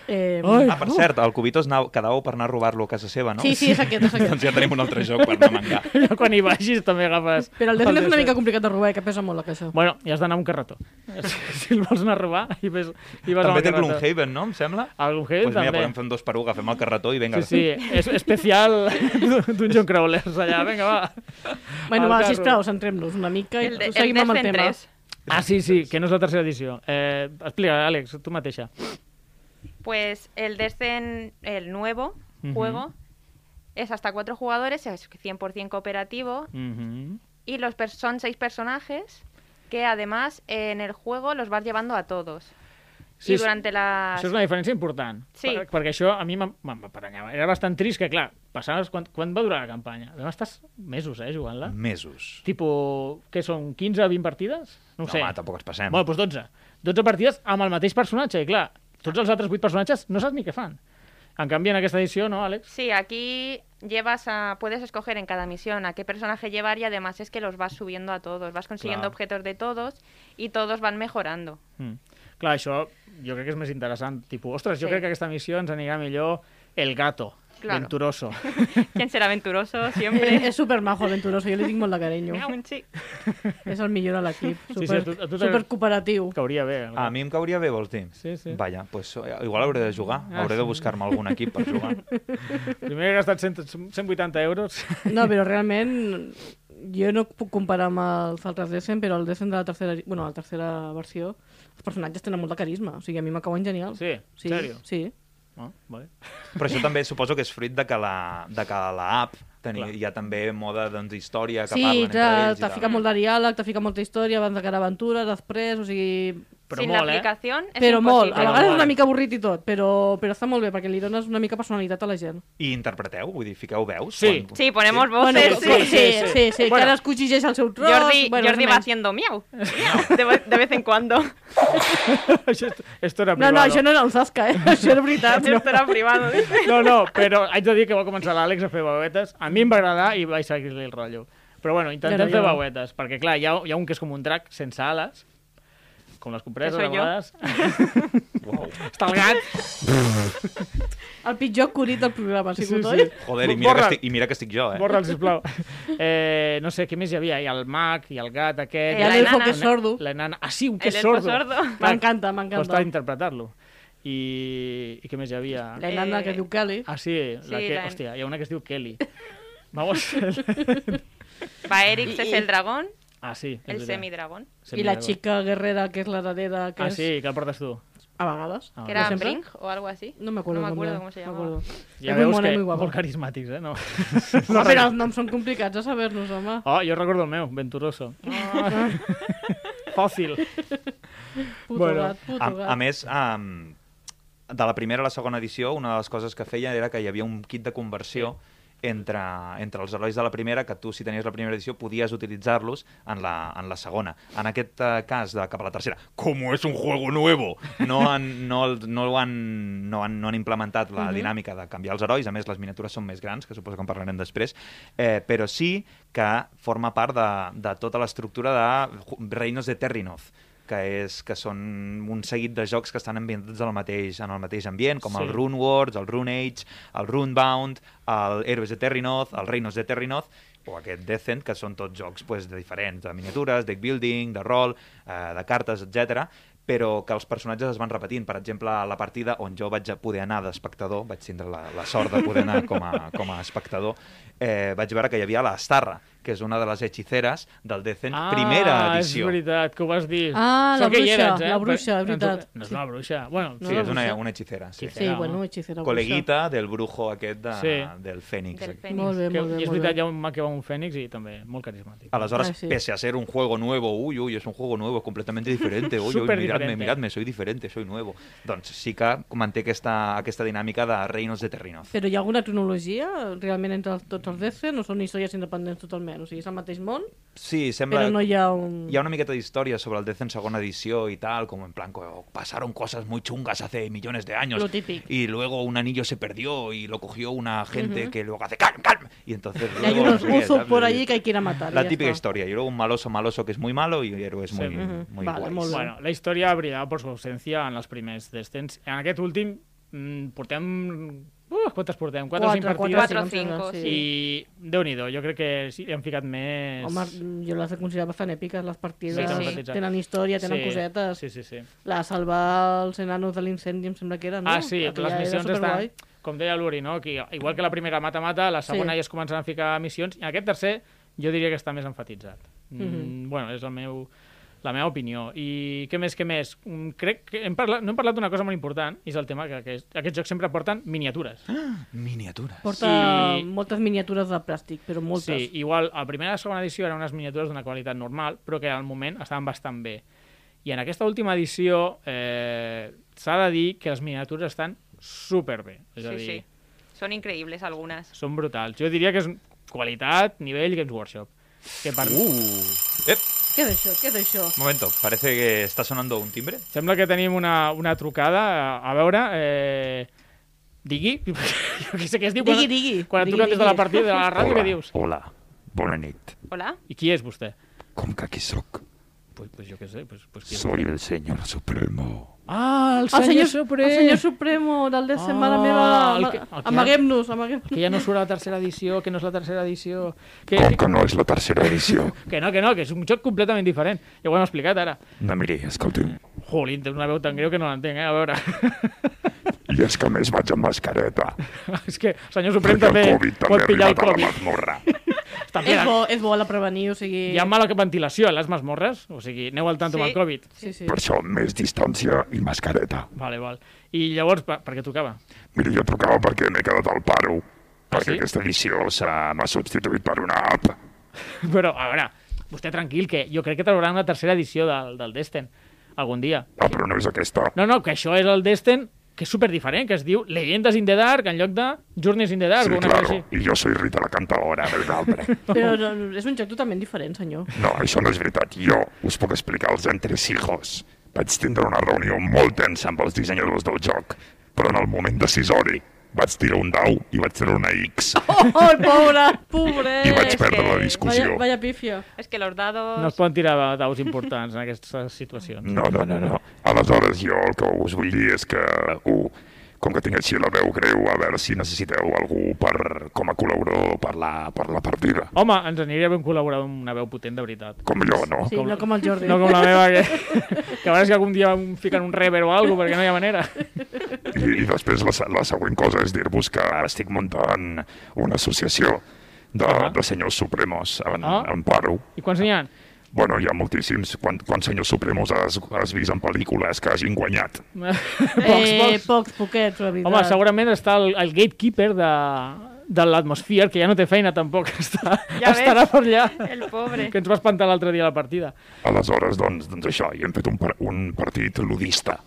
[SPEAKER 2] Eh,
[SPEAKER 1] Ai.
[SPEAKER 4] Ah, per cert, el Cubitos anau- quedàveu per anar a robar-lo a casa seva, no?
[SPEAKER 2] Sí, sí, és aquest,
[SPEAKER 4] (laughs)
[SPEAKER 2] és
[SPEAKER 4] Doncs
[SPEAKER 2] aquest.
[SPEAKER 4] ja tenim un altre joc per anar a
[SPEAKER 1] (laughs)
[SPEAKER 4] menjar.
[SPEAKER 1] Jo quan hi vagis també agafes...
[SPEAKER 2] Però el Destiny és una
[SPEAKER 1] Destiny.
[SPEAKER 2] mica complicat de robar, eh, que pesa molt la caixa.
[SPEAKER 1] Bueno, i has d'anar amb un carretó. (laughs) Si- si el vols anar a robar, hi ves, hi vas amb
[SPEAKER 4] També té
[SPEAKER 1] el carretó.
[SPEAKER 4] Gloomhaven, no, em sembla?
[SPEAKER 1] El Gloomhaven
[SPEAKER 4] pues mira,
[SPEAKER 1] també.
[SPEAKER 4] podem fer un dos per un, agafem el carretó i vinga.
[SPEAKER 1] Sí, sí, és
[SPEAKER 4] (laughs)
[SPEAKER 1] especial Dungeon Crawlers allà, vinga, va.
[SPEAKER 2] Bueno,
[SPEAKER 1] el
[SPEAKER 2] va,
[SPEAKER 1] carro.
[SPEAKER 2] sisplau, centrem-nos una mica i
[SPEAKER 5] El, de, el
[SPEAKER 2] seguim amb el
[SPEAKER 5] Destiny
[SPEAKER 2] tema.
[SPEAKER 5] 3.
[SPEAKER 1] Ah, sí, sí, que no és la tercera edició. Eh, explica, Àlex, tu mateixa.
[SPEAKER 5] Pues el Descent, el nuevo
[SPEAKER 1] Ujú.
[SPEAKER 5] juego, es hasta cuatro jugadores, es 100% cooperativo
[SPEAKER 1] Mhm.
[SPEAKER 5] y los per- son seis personajes que además en el juego los vas llevando a todos.
[SPEAKER 1] Sí,
[SPEAKER 5] y
[SPEAKER 1] sí.
[SPEAKER 5] durante las...
[SPEAKER 1] Això és una diferència important.
[SPEAKER 5] Sí.
[SPEAKER 1] Per, perquè això a mi m'em- m'em- m'aparanyava. Era bastant trist que, clar, passaves... Quan, quan va durar la campanya? Vam estar mesos, eh, jugant-la.
[SPEAKER 4] Mm. Mesos.
[SPEAKER 1] Tipo, què són, 15 20 partides? No ho sé.
[SPEAKER 4] Home, tampoc ens passem.
[SPEAKER 1] Bueno, doncs 12. 12 partides amb el mateix personatge, i clar, tots els altres 8 personatges no saps ni què fan. En canvi, en aquesta edició, no, Àlex?
[SPEAKER 5] Sí, aquí llevas a... puedes escoger en cada misión a qué personaje llevar y además es que los vas subiendo a todos, vas consiguiendo
[SPEAKER 1] Claro.
[SPEAKER 5] objetos de todos y todos van mejorando.
[SPEAKER 1] Mm. Clar, això jo crec que és més interessant. Tipo, ostres, jo
[SPEAKER 5] Sí.
[SPEAKER 1] crec que aquesta missió ens anirà millor el gato,
[SPEAKER 5] Claro.
[SPEAKER 1] venturoso. (laughs)
[SPEAKER 5] ¿Quién será aventuroso
[SPEAKER 2] Eh,
[SPEAKER 5] siempre?
[SPEAKER 2] és super majo, Venturoso, jo li tinc molt de
[SPEAKER 5] (laughs)
[SPEAKER 2] carinyo.
[SPEAKER 5] Miau, sí.
[SPEAKER 2] És el millor de l'equip.
[SPEAKER 1] sí,
[SPEAKER 2] Super,
[SPEAKER 1] a tu- a tu t'agrada-
[SPEAKER 2] super cooperatiu.
[SPEAKER 1] Cauria bé. El
[SPEAKER 4] A mi em cauria bé, vols dir?
[SPEAKER 1] Sí, sí.
[SPEAKER 4] Vaja, pues, eh, igual hauré de jugar.
[SPEAKER 1] Ah,
[SPEAKER 4] hauré de
[SPEAKER 1] sí.
[SPEAKER 4] buscar-me algun equip per
[SPEAKER 1] (laughs)
[SPEAKER 4] jugar.
[SPEAKER 1] Primer he gastat 100, 180 euros.
[SPEAKER 2] No, però realment jo no puc comparar amb els altres Descent, però el Descent de la tercera, bueno, la tercera versió, els personatges tenen molt de carisma, o sigui, a mi m'acaben genial.
[SPEAKER 1] Sí?
[SPEAKER 2] sí,
[SPEAKER 1] Sèrio?
[SPEAKER 2] sí.
[SPEAKER 1] Oh,
[SPEAKER 2] (laughs)
[SPEAKER 1] vale.
[SPEAKER 4] Però això també suposo que és fruit de que la, de que la app teni,
[SPEAKER 1] Clar.
[SPEAKER 4] hi ha també moda doncs, història que
[SPEAKER 2] sí, ja,
[SPEAKER 4] parlen entre ells. i
[SPEAKER 2] te
[SPEAKER 4] tal.
[SPEAKER 2] fica molt de diàleg, te fica molta història abans de cada aventura, després, o sigui...
[SPEAKER 1] Però
[SPEAKER 5] Sin
[SPEAKER 1] molt,
[SPEAKER 5] la
[SPEAKER 1] eh?
[SPEAKER 5] aplicación es
[SPEAKER 2] però molt, a
[SPEAKER 5] imposible.
[SPEAKER 1] Però
[SPEAKER 2] vegades és
[SPEAKER 1] molt.
[SPEAKER 2] una mica avorrit i tot, però, però està molt bé, perquè li dones una mica personalitat a la gent.
[SPEAKER 4] I interpreteu? Vull dir, fiqueu veus?
[SPEAKER 1] Sí.
[SPEAKER 4] Quan-
[SPEAKER 5] Sí, ponemos
[SPEAKER 2] Bueno,
[SPEAKER 5] voces. sí.
[SPEAKER 2] sí, sí, sí,
[SPEAKER 1] sí.
[SPEAKER 2] sí, sí,
[SPEAKER 1] Bueno.
[SPEAKER 2] cadascú exigeix el seu tros.
[SPEAKER 5] Jordi,
[SPEAKER 2] bueno,
[SPEAKER 5] Jordi
[SPEAKER 2] més
[SPEAKER 5] va
[SPEAKER 2] o menys.
[SPEAKER 5] haciendo miau, miau, de, ve- de vez en cuando.
[SPEAKER 1] Això, esto era
[SPEAKER 2] No,
[SPEAKER 1] privado.
[SPEAKER 2] no, això no era un Zasca, eh? (laughs) això era veritat.
[SPEAKER 5] Esto era privado. dice.
[SPEAKER 1] No, no, però haig de dir que va començar l'Àlex a fer babetes. A mi em va agradar i vaig seguir-li el rotllo. Però bueno, intentem
[SPEAKER 2] Però jo-
[SPEAKER 1] fer babetes, perquè clar, hi ha, hi ha un que és com un drac sense ales, com les compreses
[SPEAKER 5] Que
[SPEAKER 1] a
[SPEAKER 5] soy jo.
[SPEAKER 2] (laughs)
[SPEAKER 1] vegades. Està el gat.
[SPEAKER 2] El pitjor curit del programa ha
[SPEAKER 1] Sí,
[SPEAKER 2] sigut, sí,
[SPEAKER 1] sí.
[SPEAKER 2] oi?
[SPEAKER 4] Joder, i mira, que
[SPEAKER 1] Borra.
[SPEAKER 4] estic, i mira que estic jo, eh?
[SPEAKER 1] Borra'l, sisplau. Eh, no sé, què més hi havia? Hi ha el mag, hi ha el gat aquest...
[SPEAKER 5] Eh, la
[SPEAKER 1] hi ha-
[SPEAKER 5] elfo que
[SPEAKER 2] és sordo.
[SPEAKER 1] La nana... Ah, sí, un que
[SPEAKER 5] El
[SPEAKER 1] és
[SPEAKER 5] elfo
[SPEAKER 1] sordo.
[SPEAKER 5] sordo.
[SPEAKER 1] Clar,
[SPEAKER 2] M'encanta, m'encanta.
[SPEAKER 1] Costa interpretar-lo. I, I què més hi havia?
[SPEAKER 2] La nana
[SPEAKER 5] Eh,
[SPEAKER 2] que diu Cali.
[SPEAKER 1] Ah, sí, la
[SPEAKER 5] Sí,
[SPEAKER 1] que...
[SPEAKER 5] la-
[SPEAKER 1] Hòstia, hi ha una que es diu Kelly. Vamos.
[SPEAKER 5] Baerix es el dragón,
[SPEAKER 1] Ah, sí. és
[SPEAKER 5] el
[SPEAKER 1] veritat.
[SPEAKER 5] semidragón,
[SPEAKER 2] I la
[SPEAKER 1] Semidrago.
[SPEAKER 2] xica guerrera, que és la dadera, que
[SPEAKER 1] Ah,
[SPEAKER 2] és
[SPEAKER 1] sí, que el portes tu.
[SPEAKER 2] a vegades.
[SPEAKER 1] Ah,
[SPEAKER 5] que era
[SPEAKER 1] vale.
[SPEAKER 2] sempre?
[SPEAKER 5] Brink o algo así.
[SPEAKER 2] No me acuerdo,
[SPEAKER 5] no me
[SPEAKER 2] el nombre,
[SPEAKER 5] acuerdo cómo se
[SPEAKER 2] me
[SPEAKER 5] llamaba.
[SPEAKER 2] acuerdo.
[SPEAKER 1] Ja
[SPEAKER 2] és
[SPEAKER 1] veus
[SPEAKER 2] molt mona,
[SPEAKER 1] que
[SPEAKER 2] i molt guapa. (laughs)
[SPEAKER 1] molt carismàtics, eh? No.
[SPEAKER 2] No, però els noms són complicats de saber-nos, home.
[SPEAKER 1] Oh, jo recordo el meu, Venturoso.
[SPEAKER 2] Ah.
[SPEAKER 1] Fòcil.
[SPEAKER 2] Puto
[SPEAKER 1] bueno.
[SPEAKER 2] gat, puto
[SPEAKER 4] A,
[SPEAKER 2] gat.
[SPEAKER 4] a més, um, de la primera a la segona edició, una de les coses que feia era que hi havia un kit de conversió entre, entre els herois de la primera, que tu, si tenies la primera edició, podies utilitzar-los en, la, en la segona. En aquest eh, cas, de cap a la tercera, com és un juego nuevo, no han, no, el- no, ho han, no, han, no han implementat la dinàmica de canviar els herois, a més les miniatures són més grans, que suposo que en parlarem després, eh, però sí que forma part de, de tota l'estructura de ju- Reinos de Terrinoth, que, és, que són un seguit de jocs que estan ambientats al mateix, en el mateix ambient, com
[SPEAKER 1] Sí.
[SPEAKER 4] el Rune Wars, el Rune Age, el Runebound, el Héroes de Terrinoth, el Reinos de Terrinoth, o aquest Decent, que són tots jocs pues, de diferents, de miniatures, deck building, de rol, eh, de cartes, etc però que els personatges es van repetint. Per exemple, a la partida on jo vaig poder anar d'espectador, vaig tindre la, la sort de poder anar com a, com a espectador, eh, vaig veure que hi havia la Starra, que és una de les hechiceres del Decent, primera edició.
[SPEAKER 1] Ah, és veritat, que ho vas dir.
[SPEAKER 2] Ah,
[SPEAKER 1] Sort
[SPEAKER 2] la
[SPEAKER 1] que hi
[SPEAKER 2] bruixa,
[SPEAKER 1] eres, eh?
[SPEAKER 2] la bruixa,
[SPEAKER 1] Però-
[SPEAKER 2] és veritat.
[SPEAKER 1] No és una bruixa. Bueno,
[SPEAKER 2] No,
[SPEAKER 4] Sí,
[SPEAKER 2] la
[SPEAKER 4] és una,
[SPEAKER 2] bruixa.
[SPEAKER 4] una hechicera, sí.
[SPEAKER 2] Sí,
[SPEAKER 1] Hechicera,
[SPEAKER 2] bueno, pues
[SPEAKER 1] no?
[SPEAKER 2] hechicera.
[SPEAKER 4] Col·leguita del brujo aquest de,
[SPEAKER 1] Sí.
[SPEAKER 4] del Fènix.
[SPEAKER 5] Del Fènix.
[SPEAKER 2] Molt bé,
[SPEAKER 1] Que,
[SPEAKER 2] molt bé.
[SPEAKER 1] I és
[SPEAKER 2] molt
[SPEAKER 1] veritat, hi
[SPEAKER 2] bé.
[SPEAKER 1] ha un mà que va un fènix i també molt carismàtic.
[SPEAKER 4] Aleshores,
[SPEAKER 2] Ah, sí.
[SPEAKER 4] pese a ser un juego nuevo, uy, uy, es un juego nuevo, es completamente diferente, uy, uy,
[SPEAKER 1] Superdiferente.
[SPEAKER 4] miradme, miradme, soy diferente, soy nuevo. Doncs sí que manté aquesta, aquesta dinàmica de Reinos de Terrinoz.
[SPEAKER 2] Però hi ha alguna cronologia realment entre els, tots els DC? No són històries independents totalment, o sigui, és el mateix món,
[SPEAKER 4] Sí, sembla...
[SPEAKER 2] però no hi ha un...
[SPEAKER 4] Hi ha una miqueta d'història sobre el Death en segona edició y tal, como en plan, co- pasaron cosas muy chungas hace millones de años.
[SPEAKER 2] Lo típico.
[SPEAKER 4] Y luego un anillo se perdió y lo cogió una gente que luego hace calm, calm. Y entonces
[SPEAKER 2] Y hay
[SPEAKER 4] luego no (laughs)
[SPEAKER 2] unos
[SPEAKER 4] sé qué,
[SPEAKER 2] usos
[SPEAKER 4] ¿sabes?
[SPEAKER 2] por allí que hay que ir a matar. y
[SPEAKER 4] La
[SPEAKER 2] ya
[SPEAKER 4] típica
[SPEAKER 2] está.
[SPEAKER 4] historia. Y luego un maloso maloso que es muy malo y héroes muy,
[SPEAKER 1] Sí.
[SPEAKER 2] Ujú.
[SPEAKER 4] muy
[SPEAKER 2] Vale,
[SPEAKER 4] guays.
[SPEAKER 2] molt bé.
[SPEAKER 1] Bueno, la història brillarà per su ausència en els primers descens. En aquest últim mm, portem... Uh, quantes portem? 4 o 5 partides?
[SPEAKER 2] Quatre,
[SPEAKER 5] Quatre
[SPEAKER 2] quatre,
[SPEAKER 5] o cinc,
[SPEAKER 2] sí.
[SPEAKER 5] sí.
[SPEAKER 1] I déu-n'hi-do, jo crec que sí, hi han ficat més...
[SPEAKER 2] Home, jo les he considerat bastant èpiques, les partides.
[SPEAKER 5] Sí, sí.
[SPEAKER 2] Tenen història, tenen cosetes.
[SPEAKER 1] eh. Sí, sí, sí.
[SPEAKER 2] La de salvar els enanos de l'incendi, em sembla que era, no?
[SPEAKER 1] Ah, sí,
[SPEAKER 2] Aquella
[SPEAKER 1] les
[SPEAKER 2] era
[SPEAKER 1] missions
[SPEAKER 2] superguai.
[SPEAKER 1] estan... Com deia l'Uri, no? Que igual que la primera mata-mata, la segona
[SPEAKER 2] Sí.
[SPEAKER 1] ja es comencen a ficar missions, i en aquest tercer jo diria que està més enfatitzat. Mm
[SPEAKER 2] Mhm.
[SPEAKER 1] Bueno, és el meu, la meva opinió. I què més, què més? Mm, crec que hem parlat, no hem parlat d'una cosa molt important, i és el tema que, que és- aquests jocs sempre porten miniatures.
[SPEAKER 2] Ah,
[SPEAKER 4] Miniaturas.
[SPEAKER 2] Porta
[SPEAKER 1] I-
[SPEAKER 2] moltes miniatures de plàstic, però moltes.
[SPEAKER 1] Sí, igual a primera i segona edició eren unes miniatures d'una qualitat normal, però que al moment estaven bastant bé. I en aquesta última edició eh, s'ha de dir que les miniatures estan superbé. És a
[SPEAKER 5] Sí,
[SPEAKER 1] dir,
[SPEAKER 5] sí. Son increíbles algunas.
[SPEAKER 1] són brutals. Jo diria que és qualitat, nivell Games Workshop. Que per... uh.
[SPEAKER 4] Ep,
[SPEAKER 2] Què és això? Què és això?
[SPEAKER 4] momento, parece que está sonando un timbre.
[SPEAKER 1] Sembla que tenim una, una trucada. A- A veure... Eh... Digui? (laughs) Jo què sé què es diu.
[SPEAKER 2] Digui,
[SPEAKER 1] quan,
[SPEAKER 2] digui.
[SPEAKER 1] Quan et
[SPEAKER 2] Digui,
[SPEAKER 1] truquen des de la
[SPEAKER 2] digui.
[SPEAKER 1] partida de la ràdio, què dius?
[SPEAKER 6] hola, bona nit.
[SPEAKER 5] Hola.
[SPEAKER 1] I qui és vostè?
[SPEAKER 6] Com que qui sóc?
[SPEAKER 1] Pues, pues jo què sé. Pues, pues qui és?
[SPEAKER 6] Soy el senyor supremo.
[SPEAKER 1] Ah, el
[SPEAKER 2] El
[SPEAKER 1] senyor,
[SPEAKER 2] senyor,
[SPEAKER 1] Suprem!
[SPEAKER 2] el senyor Supremo del DC,
[SPEAKER 1] Ah,
[SPEAKER 2] mare meva,
[SPEAKER 1] el
[SPEAKER 2] ama-
[SPEAKER 1] que- el que-
[SPEAKER 2] amaguem-nos, amaguem-nos.
[SPEAKER 1] Que ja no surt a la tercera edició, que no és la tercera edició... Que,
[SPEAKER 6] Com
[SPEAKER 1] que,
[SPEAKER 6] que no és la tercera edició?
[SPEAKER 1] que no, que no, que és un joc completament diferent. Ja ho hem explicat ara.
[SPEAKER 6] No, miri, escolti,
[SPEAKER 1] Jolín, té una veu tan greu que no l'entenc, eh? A veure... (laughs)
[SPEAKER 6] i és que a més vaig amb mascareta.
[SPEAKER 1] és que el senyor Suprem també
[SPEAKER 6] Perquè el Covid
[SPEAKER 1] pot
[SPEAKER 6] també ha
[SPEAKER 1] pillar el
[SPEAKER 6] arribat a la
[SPEAKER 1] Covid.
[SPEAKER 6] mazmorra.
[SPEAKER 1] També
[SPEAKER 2] És bo, és bo la prevenir, o sigui...
[SPEAKER 1] hi ha mala ventilació a les masmorres, o sigui, aneu al tanto
[SPEAKER 5] Sí.
[SPEAKER 1] amb el Covid.
[SPEAKER 2] Sí, sí.
[SPEAKER 6] Per això, més distància i mascareta.
[SPEAKER 1] Vale, val. I llavors, per, per què tocava? (laughs)
[SPEAKER 6] Mira, jo trucava perquè m'he quedat al paro. Perquè
[SPEAKER 1] Ah, sí?
[SPEAKER 6] aquesta edició s'ha- m'ha substituït per una app.
[SPEAKER 1] Però, a veure, vostè tranquil, que jo crec que trauran una tercera edició del, del Destin, algun dia.
[SPEAKER 6] Ah, però no és aquesta.
[SPEAKER 1] No, no, que això és el Destin, que és superdiferent, que es diu Leyendas in the Dark en lloc de Journeys in the Dark,
[SPEAKER 6] Sí,
[SPEAKER 1] o una cosa
[SPEAKER 6] claro.
[SPEAKER 1] així.
[SPEAKER 6] I jo soy Rita la cantadora, nosaltres.
[SPEAKER 2] Però no, no, és un joc totalment diferent,
[SPEAKER 1] (laughs)
[SPEAKER 2] senyor.
[SPEAKER 6] No, això no és veritat. Jo us puc explicar els entresijos. Vaig tindre una reunió molt tensa amb els dissenyadors del joc, però en el moment decisori vaig tirar un dau i vaig treure una X
[SPEAKER 2] Oh, oh el pobre! Pobret!
[SPEAKER 6] i vaig
[SPEAKER 5] és
[SPEAKER 6] perdre la
[SPEAKER 5] que-
[SPEAKER 6] discussió.
[SPEAKER 2] Vaya, vaya pífia.
[SPEAKER 5] Es que los dados...
[SPEAKER 1] No es poden tirar daus importants en aquestes situacions.
[SPEAKER 6] No, no, no, no. Aleshores, jo el que us vull dir és que, u, com que tinc així la veu greu, a veure si necessiteu algú per, com a col·laborador per la, per la partida.
[SPEAKER 1] Home, ens aniria ben col·laborar amb una veu potent, de veritat.
[SPEAKER 6] Com jo, no?
[SPEAKER 2] Sí, no com el Jordi.
[SPEAKER 1] No com la meva, que, (laughs) que a veure si algun dia em fiquen un rever o alguna perquè no hi ha manera.
[SPEAKER 6] I, i després la, se- la següent cosa és dir-vos que ara estic muntant una associació de,
[SPEAKER 1] Ah.
[SPEAKER 6] de senyors supremos en,
[SPEAKER 1] Ah.
[SPEAKER 6] en paro.
[SPEAKER 1] I quants n'hi ha? (laughs)
[SPEAKER 6] Bueno, hi ha moltíssims. Quan, quan senyors supremos has, has vist en pel·lícules que hagin guanyat?
[SPEAKER 1] pocs,
[SPEAKER 2] eh,
[SPEAKER 1] pocs.
[SPEAKER 2] pocs, poquets, la veritat.
[SPEAKER 1] Home, segurament està el, el gatekeeper de, de l'atmosfera, que ja no té feina tampoc, (laughs) està,
[SPEAKER 5] Ja
[SPEAKER 1] estarà
[SPEAKER 5] ves.
[SPEAKER 1] per allà,
[SPEAKER 5] El pobre.
[SPEAKER 1] que ens va espantar l'altre dia a la partida.
[SPEAKER 6] Aleshores, doncs, doncs això, hi hem fet un, par- un partit ludista.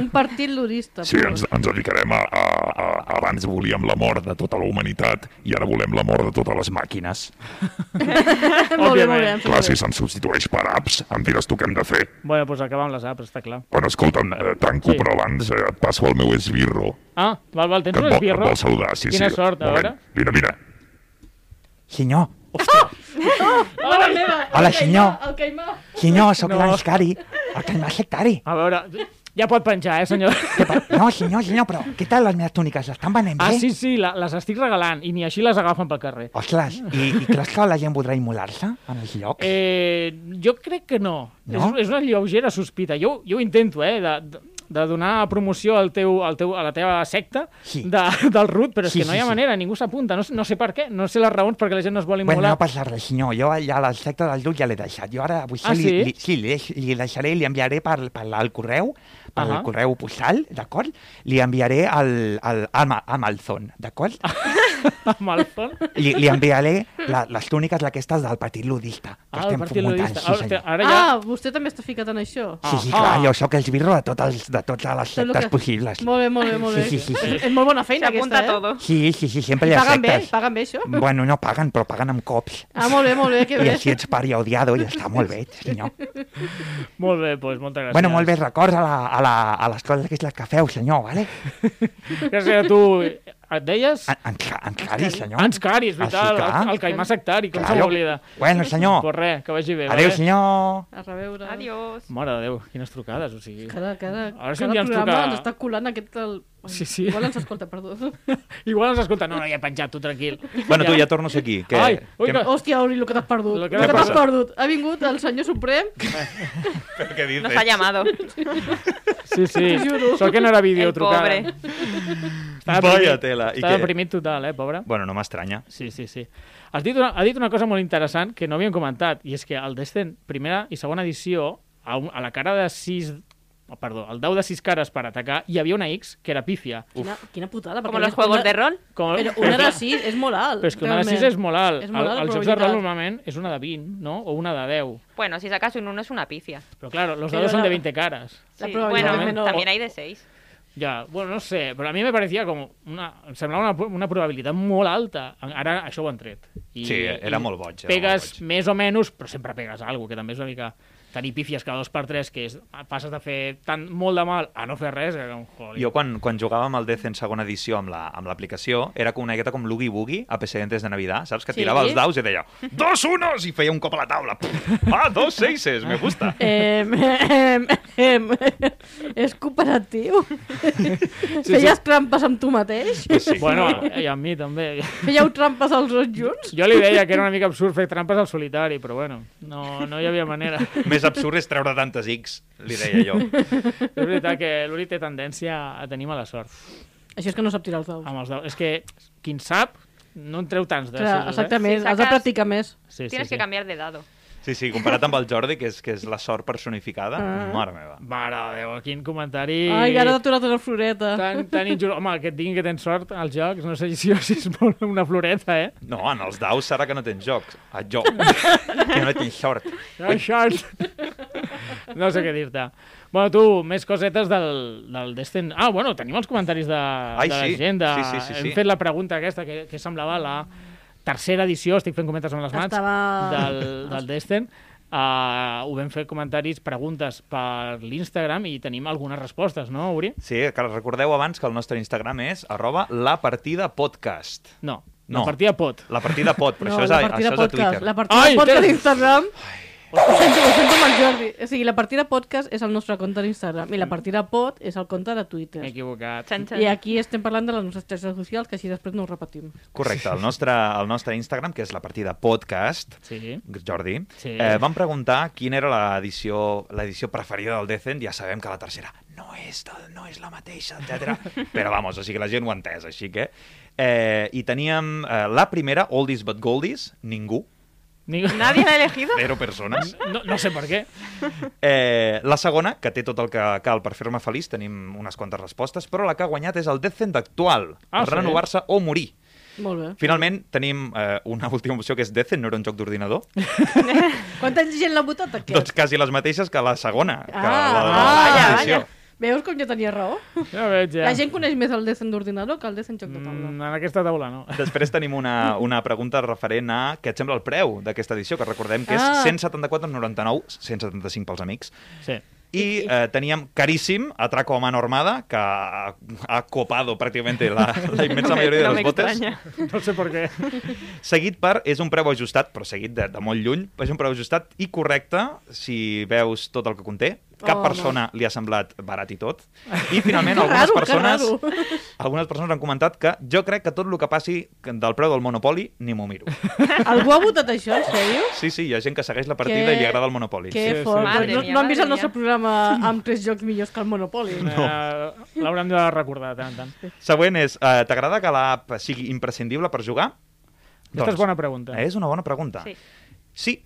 [SPEAKER 2] Un partit lurista.
[SPEAKER 6] Sí, ens, ens dedicarem a, a, a... Abans volíem la mort de tota la humanitat i ara volem la mort de totes les màquines.
[SPEAKER 2] (laughs) molt bé, molt bé.
[SPEAKER 1] Òbviament.
[SPEAKER 2] em sembla
[SPEAKER 6] Clar,
[SPEAKER 2] bé.
[SPEAKER 6] si se'n substitueix per apps, em diràs tu què hem de fer.
[SPEAKER 1] Bueno, doncs acabar amb les apps, està clar.
[SPEAKER 6] Bueno, escolta'm, eh, tanco,
[SPEAKER 1] Sí.
[SPEAKER 6] però abans eh, et passo el meu esbirro.
[SPEAKER 1] Ah, val, val, tens
[SPEAKER 6] Que
[SPEAKER 1] un
[SPEAKER 6] et, vol, et
[SPEAKER 1] esbirro?
[SPEAKER 6] vol saludar, sí,
[SPEAKER 1] Quina
[SPEAKER 6] sí.
[SPEAKER 1] sort, a
[SPEAKER 6] Moment.
[SPEAKER 1] veure.
[SPEAKER 6] Vine, vine.
[SPEAKER 4] Senyor,
[SPEAKER 2] Hola, meva,
[SPEAKER 4] Hola,
[SPEAKER 2] el
[SPEAKER 4] senyor.
[SPEAKER 2] caimà, El caimà.
[SPEAKER 4] senyor, sóc
[SPEAKER 1] No.
[SPEAKER 4] no. l'Anscari, el que em va sectari.
[SPEAKER 1] A veure, ja pot penjar, eh, senyor?
[SPEAKER 4] No, senyor, senyor, però què tal les meves túniques? Estan venent
[SPEAKER 1] Ah,
[SPEAKER 4] bé?
[SPEAKER 1] sí, sí, la, les estic regalant i ni així les agafen pel carrer.
[SPEAKER 4] Ostres, i, i creus que la gent voldrà immolar-se en els llocs?
[SPEAKER 1] Eh, jo crec que no.
[SPEAKER 4] No?
[SPEAKER 1] És, és una lleugera sospita. Jo, jo ho intento, eh, de, de- de donar promoció al teu, al teu, a la teva secta
[SPEAKER 4] Sí.
[SPEAKER 1] de, del RUT, però és
[SPEAKER 4] Sí,
[SPEAKER 1] que no hi ha
[SPEAKER 4] sí, sí.
[SPEAKER 1] manera, ningú s'apunta. No, s- no sé per què, no sé les raons perquè la gent no es vol
[SPEAKER 4] bueno,
[SPEAKER 1] immolar.
[SPEAKER 4] no passa res, senyor. Jo ja la secta del duc ja l'he deixat. Jo ara avui
[SPEAKER 1] Ah,
[SPEAKER 4] li,
[SPEAKER 1] sí?
[SPEAKER 4] li, sí, li, deix, li deixaré, li enviaré per, per al correu, per
[SPEAKER 1] Ahà.
[SPEAKER 4] al correu postal, d'acord? Li enviaré al, al, al Amazon, d'acord?
[SPEAKER 1] (laughs) amb el
[SPEAKER 4] (laughs)
[SPEAKER 1] fons.
[SPEAKER 4] Li, li enviaré la, les túniques aquestes del partit ludista
[SPEAKER 1] Ah,
[SPEAKER 4] que
[SPEAKER 1] el
[SPEAKER 4] estem
[SPEAKER 1] partit
[SPEAKER 4] fomentant,
[SPEAKER 1] ludista.
[SPEAKER 4] sí,
[SPEAKER 1] Ara,
[SPEAKER 4] senyor.
[SPEAKER 1] ara ja...
[SPEAKER 2] Ah, vostè també està ficat en això.
[SPEAKER 4] Sí, sí, clar, jo sóc el esbirro de, tot els, de totes les
[SPEAKER 2] Tot lo
[SPEAKER 4] sectes
[SPEAKER 2] que-
[SPEAKER 4] possibles.
[SPEAKER 2] Molt bé, molt bé, molt bé.
[SPEAKER 4] Sí, sí, sí, sí.
[SPEAKER 2] És molt bona feina
[SPEAKER 5] apunta
[SPEAKER 2] aquesta, eh?
[SPEAKER 5] todo.
[SPEAKER 4] Sí, sí, sí, sempre
[SPEAKER 2] I
[SPEAKER 4] hi ha
[SPEAKER 2] paguen bé,
[SPEAKER 4] sectes.
[SPEAKER 2] paguen bé, això?
[SPEAKER 4] Bueno, no paguen, però paguen amb cops.
[SPEAKER 2] Ah, molt bé, molt bé, que
[SPEAKER 4] I
[SPEAKER 2] bé.
[SPEAKER 4] així ets pari odiado i està molt bé, senyor.
[SPEAKER 1] Molt bé, doncs, moltes gràcies.
[SPEAKER 4] Bueno, molt bé, records a, la, a, la, a les coses aquestes que feu, senyor, vale?
[SPEAKER 1] Gràcies a tu. Et deies?
[SPEAKER 4] En- En, Ca- en Cari, Ah, senyor.
[SPEAKER 1] Ens cari, és
[SPEAKER 4] Ah, sí,
[SPEAKER 1] veritat,
[SPEAKER 4] clar.
[SPEAKER 1] el, el caimà sectari, com se
[SPEAKER 4] Claro.
[SPEAKER 1] m'oblida.
[SPEAKER 4] Bueno, senyor,
[SPEAKER 1] Pues res, que vagi bé.
[SPEAKER 4] adeu,
[SPEAKER 1] vale?
[SPEAKER 4] senyor.
[SPEAKER 2] A reveure.
[SPEAKER 5] Adiós.
[SPEAKER 1] Mare de Déu, quines trucades, o sigui...
[SPEAKER 2] Cada, cada,
[SPEAKER 1] Ara sí
[SPEAKER 2] cada
[SPEAKER 1] que ja ens
[SPEAKER 2] programa
[SPEAKER 1] toca-
[SPEAKER 2] ens està colant aquest... El... Ai,
[SPEAKER 1] Sí, sí.
[SPEAKER 2] Igual ens escolta,
[SPEAKER 1] (laughs)
[SPEAKER 2] perdó.
[SPEAKER 1] Igual ens escolta, no, no, ja he penjat, tu tranquil.
[SPEAKER 4] Bueno, tu ja torno a ser aquí.
[SPEAKER 1] que- Ai, ui,
[SPEAKER 2] (laughs)
[SPEAKER 1] que-
[SPEAKER 2] Hòstia, Ori, el que t'has perdut.
[SPEAKER 1] Lo
[SPEAKER 2] El
[SPEAKER 1] que
[SPEAKER 2] que,
[SPEAKER 1] m'ha
[SPEAKER 2] t'has
[SPEAKER 1] passat.
[SPEAKER 2] perdut. Ha vingut el senyor Suprem.
[SPEAKER 4] Què dices?
[SPEAKER 5] Nos
[SPEAKER 2] (laughs)
[SPEAKER 5] ha llamado.
[SPEAKER 1] Sí, sí,
[SPEAKER 2] T'ho juro.
[SPEAKER 1] sort que no era vídeo
[SPEAKER 5] El
[SPEAKER 1] trucada.
[SPEAKER 5] pobre.
[SPEAKER 1] Estava
[SPEAKER 4] Vaya
[SPEAKER 1] deprimit-
[SPEAKER 4] tela, i
[SPEAKER 1] Estava
[SPEAKER 4] què?
[SPEAKER 1] deprimit total, eh, pobre.
[SPEAKER 4] Bueno, no m'estranya.
[SPEAKER 1] Sí, sí, sí. Has dit una, ha dit una cosa molt interessant que no havíem comentat, i és que el Destin, primera i segona edició, a, un, a la cara de sis... oh, Perdó, el dau de sis cares per atacar, hi havia una X que era pífia.
[SPEAKER 2] Quina, quina putada. perquè
[SPEAKER 5] Como los
[SPEAKER 2] una-
[SPEAKER 5] juegos de rol.
[SPEAKER 1] Com...
[SPEAKER 2] Però una de sis és molt alt.
[SPEAKER 1] (laughs) Però és que una de
[SPEAKER 2] realment.
[SPEAKER 1] 6 és molt alt.
[SPEAKER 2] És molt
[SPEAKER 1] el,
[SPEAKER 2] alt,
[SPEAKER 1] els
[SPEAKER 2] però
[SPEAKER 1] jocs de rol
[SPEAKER 2] veritat.
[SPEAKER 1] normalment és una de 20, no? O una de 10.
[SPEAKER 5] Bueno, si sacas un 1 es una pifia.
[SPEAKER 1] Però, claro, los
[SPEAKER 2] Però
[SPEAKER 1] dados son
[SPEAKER 2] la-
[SPEAKER 1] de 20 caras.
[SPEAKER 2] La
[SPEAKER 5] Sí,
[SPEAKER 2] probabilidad
[SPEAKER 5] Bueno,
[SPEAKER 1] es menor.
[SPEAKER 5] también hay de 6.
[SPEAKER 1] Ja, bueno, no sé, però a mi me parecía como una... Em semblava una, una probabilitat molt alta. Ara això ho han tret. I,
[SPEAKER 4] Sí, era molt boig, era
[SPEAKER 1] Pegues
[SPEAKER 4] molt boig.
[SPEAKER 1] més o menys, però sempre pegues alguna cosa, que també és una mica tenir pífies cada dos per tres, que és, passes de fer tant molt de mal a no fer res, que com, joli.
[SPEAKER 4] Jo quan, quan jugàvem al Death en segona edició amb la- amb l'aplicació, la, era com una gueta com l'Ugi Boogie a Precedentes de Navidad, saps? Que
[SPEAKER 2] Sí.
[SPEAKER 4] tirava els daus i deia dos unos i feia un cop a la taula. Pum. Ah, dos seises, me gusta.
[SPEAKER 2] Em, em, em, és cooperatiu. Feies trampes amb tu mateix?
[SPEAKER 4] Sí.
[SPEAKER 1] Bueno, eh, i a mi també.
[SPEAKER 2] Fèieu trampes els dos junts?
[SPEAKER 1] Jo li deia que era una mica absurd fer trampes al solitari, però bueno, no, no hi havia manera.
[SPEAKER 4] Més absurd és treure tantes X, li deia jo.
[SPEAKER 1] És veritat que l'Uri té tendència a tenir mala sort.
[SPEAKER 2] Això és que no sap tirar els daus.
[SPEAKER 1] Amb els daus. És que, qui en sap, no en treu tants de
[SPEAKER 2] Clar,
[SPEAKER 1] sis, eh?
[SPEAKER 2] exactament,
[SPEAKER 5] Si
[SPEAKER 2] has de
[SPEAKER 5] saques-
[SPEAKER 2] practicar més.
[SPEAKER 1] Sí, sí,
[SPEAKER 5] Tienes
[SPEAKER 1] sí.
[SPEAKER 5] que cambiar de dado.
[SPEAKER 4] Sí, sí, comparat amb el Jordi, que és, que és la sort personificada, mare meva.
[SPEAKER 1] Mare de Déu, quin comentari...
[SPEAKER 2] Ai, ara t'ha aturat una floreta.
[SPEAKER 1] Tan, tan injust. Home, que et diguin que tens sort als jocs, no sé si, si és molt una floreta, eh?
[SPEAKER 4] No, en els daus serà que no tens jocs. A joc. que no tens sort.
[SPEAKER 1] Això... No sé què dir-te. Bueno, tu, més cosetes del, del Destin. Ah, bueno, tenim els comentaris de,
[SPEAKER 4] Ai,
[SPEAKER 1] de
[SPEAKER 4] sí.
[SPEAKER 1] la gent. De...
[SPEAKER 4] Sí, sí, sí, sí.
[SPEAKER 1] Hem fet la pregunta aquesta que, que semblava la tercera edició, estic fent cometes amb les mans,
[SPEAKER 2] Estava-
[SPEAKER 1] del, del Destin. Uh, ho vam fer comentaris, preguntes per l'Instagram i tenim algunes respostes, no, Uri?
[SPEAKER 4] Sí, que recordeu abans que el nostre Instagram és arroba la partida podcast.
[SPEAKER 1] No,
[SPEAKER 4] No.
[SPEAKER 1] la partida pot.
[SPEAKER 4] La partida pot,
[SPEAKER 2] (laughs)
[SPEAKER 4] però
[SPEAKER 2] no,
[SPEAKER 4] això és,
[SPEAKER 2] la
[SPEAKER 4] a,
[SPEAKER 2] partida
[SPEAKER 4] això és a
[SPEAKER 2] podcast.
[SPEAKER 4] Twitter.
[SPEAKER 2] La partida
[SPEAKER 1] Ai,
[SPEAKER 2] podcast
[SPEAKER 1] tens-
[SPEAKER 2] d'Instagram... Ho sento, ho sento amb el Jordi. O sigui, la partida podcast és el nostre compte d'Instagram i
[SPEAKER 4] Mm.
[SPEAKER 2] la partida pod és el compte de Twitter.
[SPEAKER 1] M'he equivocat.
[SPEAKER 5] Chan, chan.
[SPEAKER 2] I aquí estem parlant de les nostres xarxes socials, que així després no ho repetim.
[SPEAKER 4] Correcte, el nostre, el nostre Instagram, que és la partida podcast,
[SPEAKER 1] Sí.
[SPEAKER 4] Jordi,
[SPEAKER 1] Sí.
[SPEAKER 4] eh, vam preguntar quina era l'edició l'edició preferida del Decent, ja sabem que la tercera no és, del, no és la
[SPEAKER 2] (laughs)
[SPEAKER 4] mateixa, etc. Però vamos, o sigui, la gent ho ha entès, així que... Eh, I teníem eh, la primera, Oldies but Goldies, ningú,
[SPEAKER 2] (laughs)
[SPEAKER 1] Ningú...
[SPEAKER 5] ¿Nadie la ha elegido?
[SPEAKER 4] zero persones.
[SPEAKER 1] No, no sé per què.
[SPEAKER 4] Eh, la segona, que té tot el que cal per fer-me feliç, tenim unes quantes respostes, però la que ha guanyat és el Decent actual,
[SPEAKER 1] Ah, sí?
[SPEAKER 4] renovar-se o morir.
[SPEAKER 2] Molt bé.
[SPEAKER 4] Finalment, tenim eh, una (laughs) última opció que és Decent, no era un joc d'ordinador?
[SPEAKER 2] Quanta gent l'ha votat, aquest?
[SPEAKER 4] Doncs quasi les mateixes que la segona. que
[SPEAKER 2] Ah,
[SPEAKER 4] la, de
[SPEAKER 2] ah,
[SPEAKER 4] la
[SPEAKER 2] vaja,
[SPEAKER 4] edició.
[SPEAKER 2] vaja. Veus com jo tenia raó?
[SPEAKER 1] Ja ho veig, ja.
[SPEAKER 2] La gent coneix més el Desen d'ordinador que el Desen joc de taula.
[SPEAKER 1] Mm, en aquesta taula no.
[SPEAKER 4] Després tenim una, una pregunta referent a què et sembla el preu d'aquesta edició, que recordem que és
[SPEAKER 2] Ah.
[SPEAKER 4] 174,99, 175 pels amics.
[SPEAKER 1] Sí.
[SPEAKER 4] Y eh, tenían carísimo Atraco a mano armada, que ha, ha copado prácticamente la, la inmensa mayoría de los botes.
[SPEAKER 1] No sé per què.
[SPEAKER 4] Seguit per, és un preu ajustat, però seguit de, de molt lluny, és un preu ajustat i correcte si veus tot el que conté. Cap
[SPEAKER 2] Oh,
[SPEAKER 4] persona li ha semblat barat i
[SPEAKER 2] (laughs)
[SPEAKER 4] tot. I finalment
[SPEAKER 2] Que
[SPEAKER 4] algunes
[SPEAKER 2] raro, que
[SPEAKER 4] persones (laughs) algunes persones han comentat que jo crec que tot el que passi del preu del Monopoly ni m'ho miro.
[SPEAKER 2] Algú ha votat això, en sèrio?
[SPEAKER 4] Sí, sí, hi ha gent que segueix la partida
[SPEAKER 2] Que-
[SPEAKER 4] i li agrada el Monopoly.
[SPEAKER 2] Que
[SPEAKER 1] sí, sí.
[SPEAKER 2] fort. Doncs
[SPEAKER 5] Madre
[SPEAKER 2] No,
[SPEAKER 5] mia,
[SPEAKER 2] no han vist el
[SPEAKER 5] madre
[SPEAKER 2] nostre
[SPEAKER 5] mia.
[SPEAKER 2] programa amb tres jocs millors que el Monopoly.
[SPEAKER 1] No. Eh, L'haurem de recordar de tant en tant.
[SPEAKER 4] Següent és, eh, t'agrada que l'app sigui imprescindible per jugar? Doncs, eh,
[SPEAKER 1] Aquesta és bona pregunta.
[SPEAKER 4] És una bona pregunta.
[SPEAKER 5] Sí.
[SPEAKER 4] sí,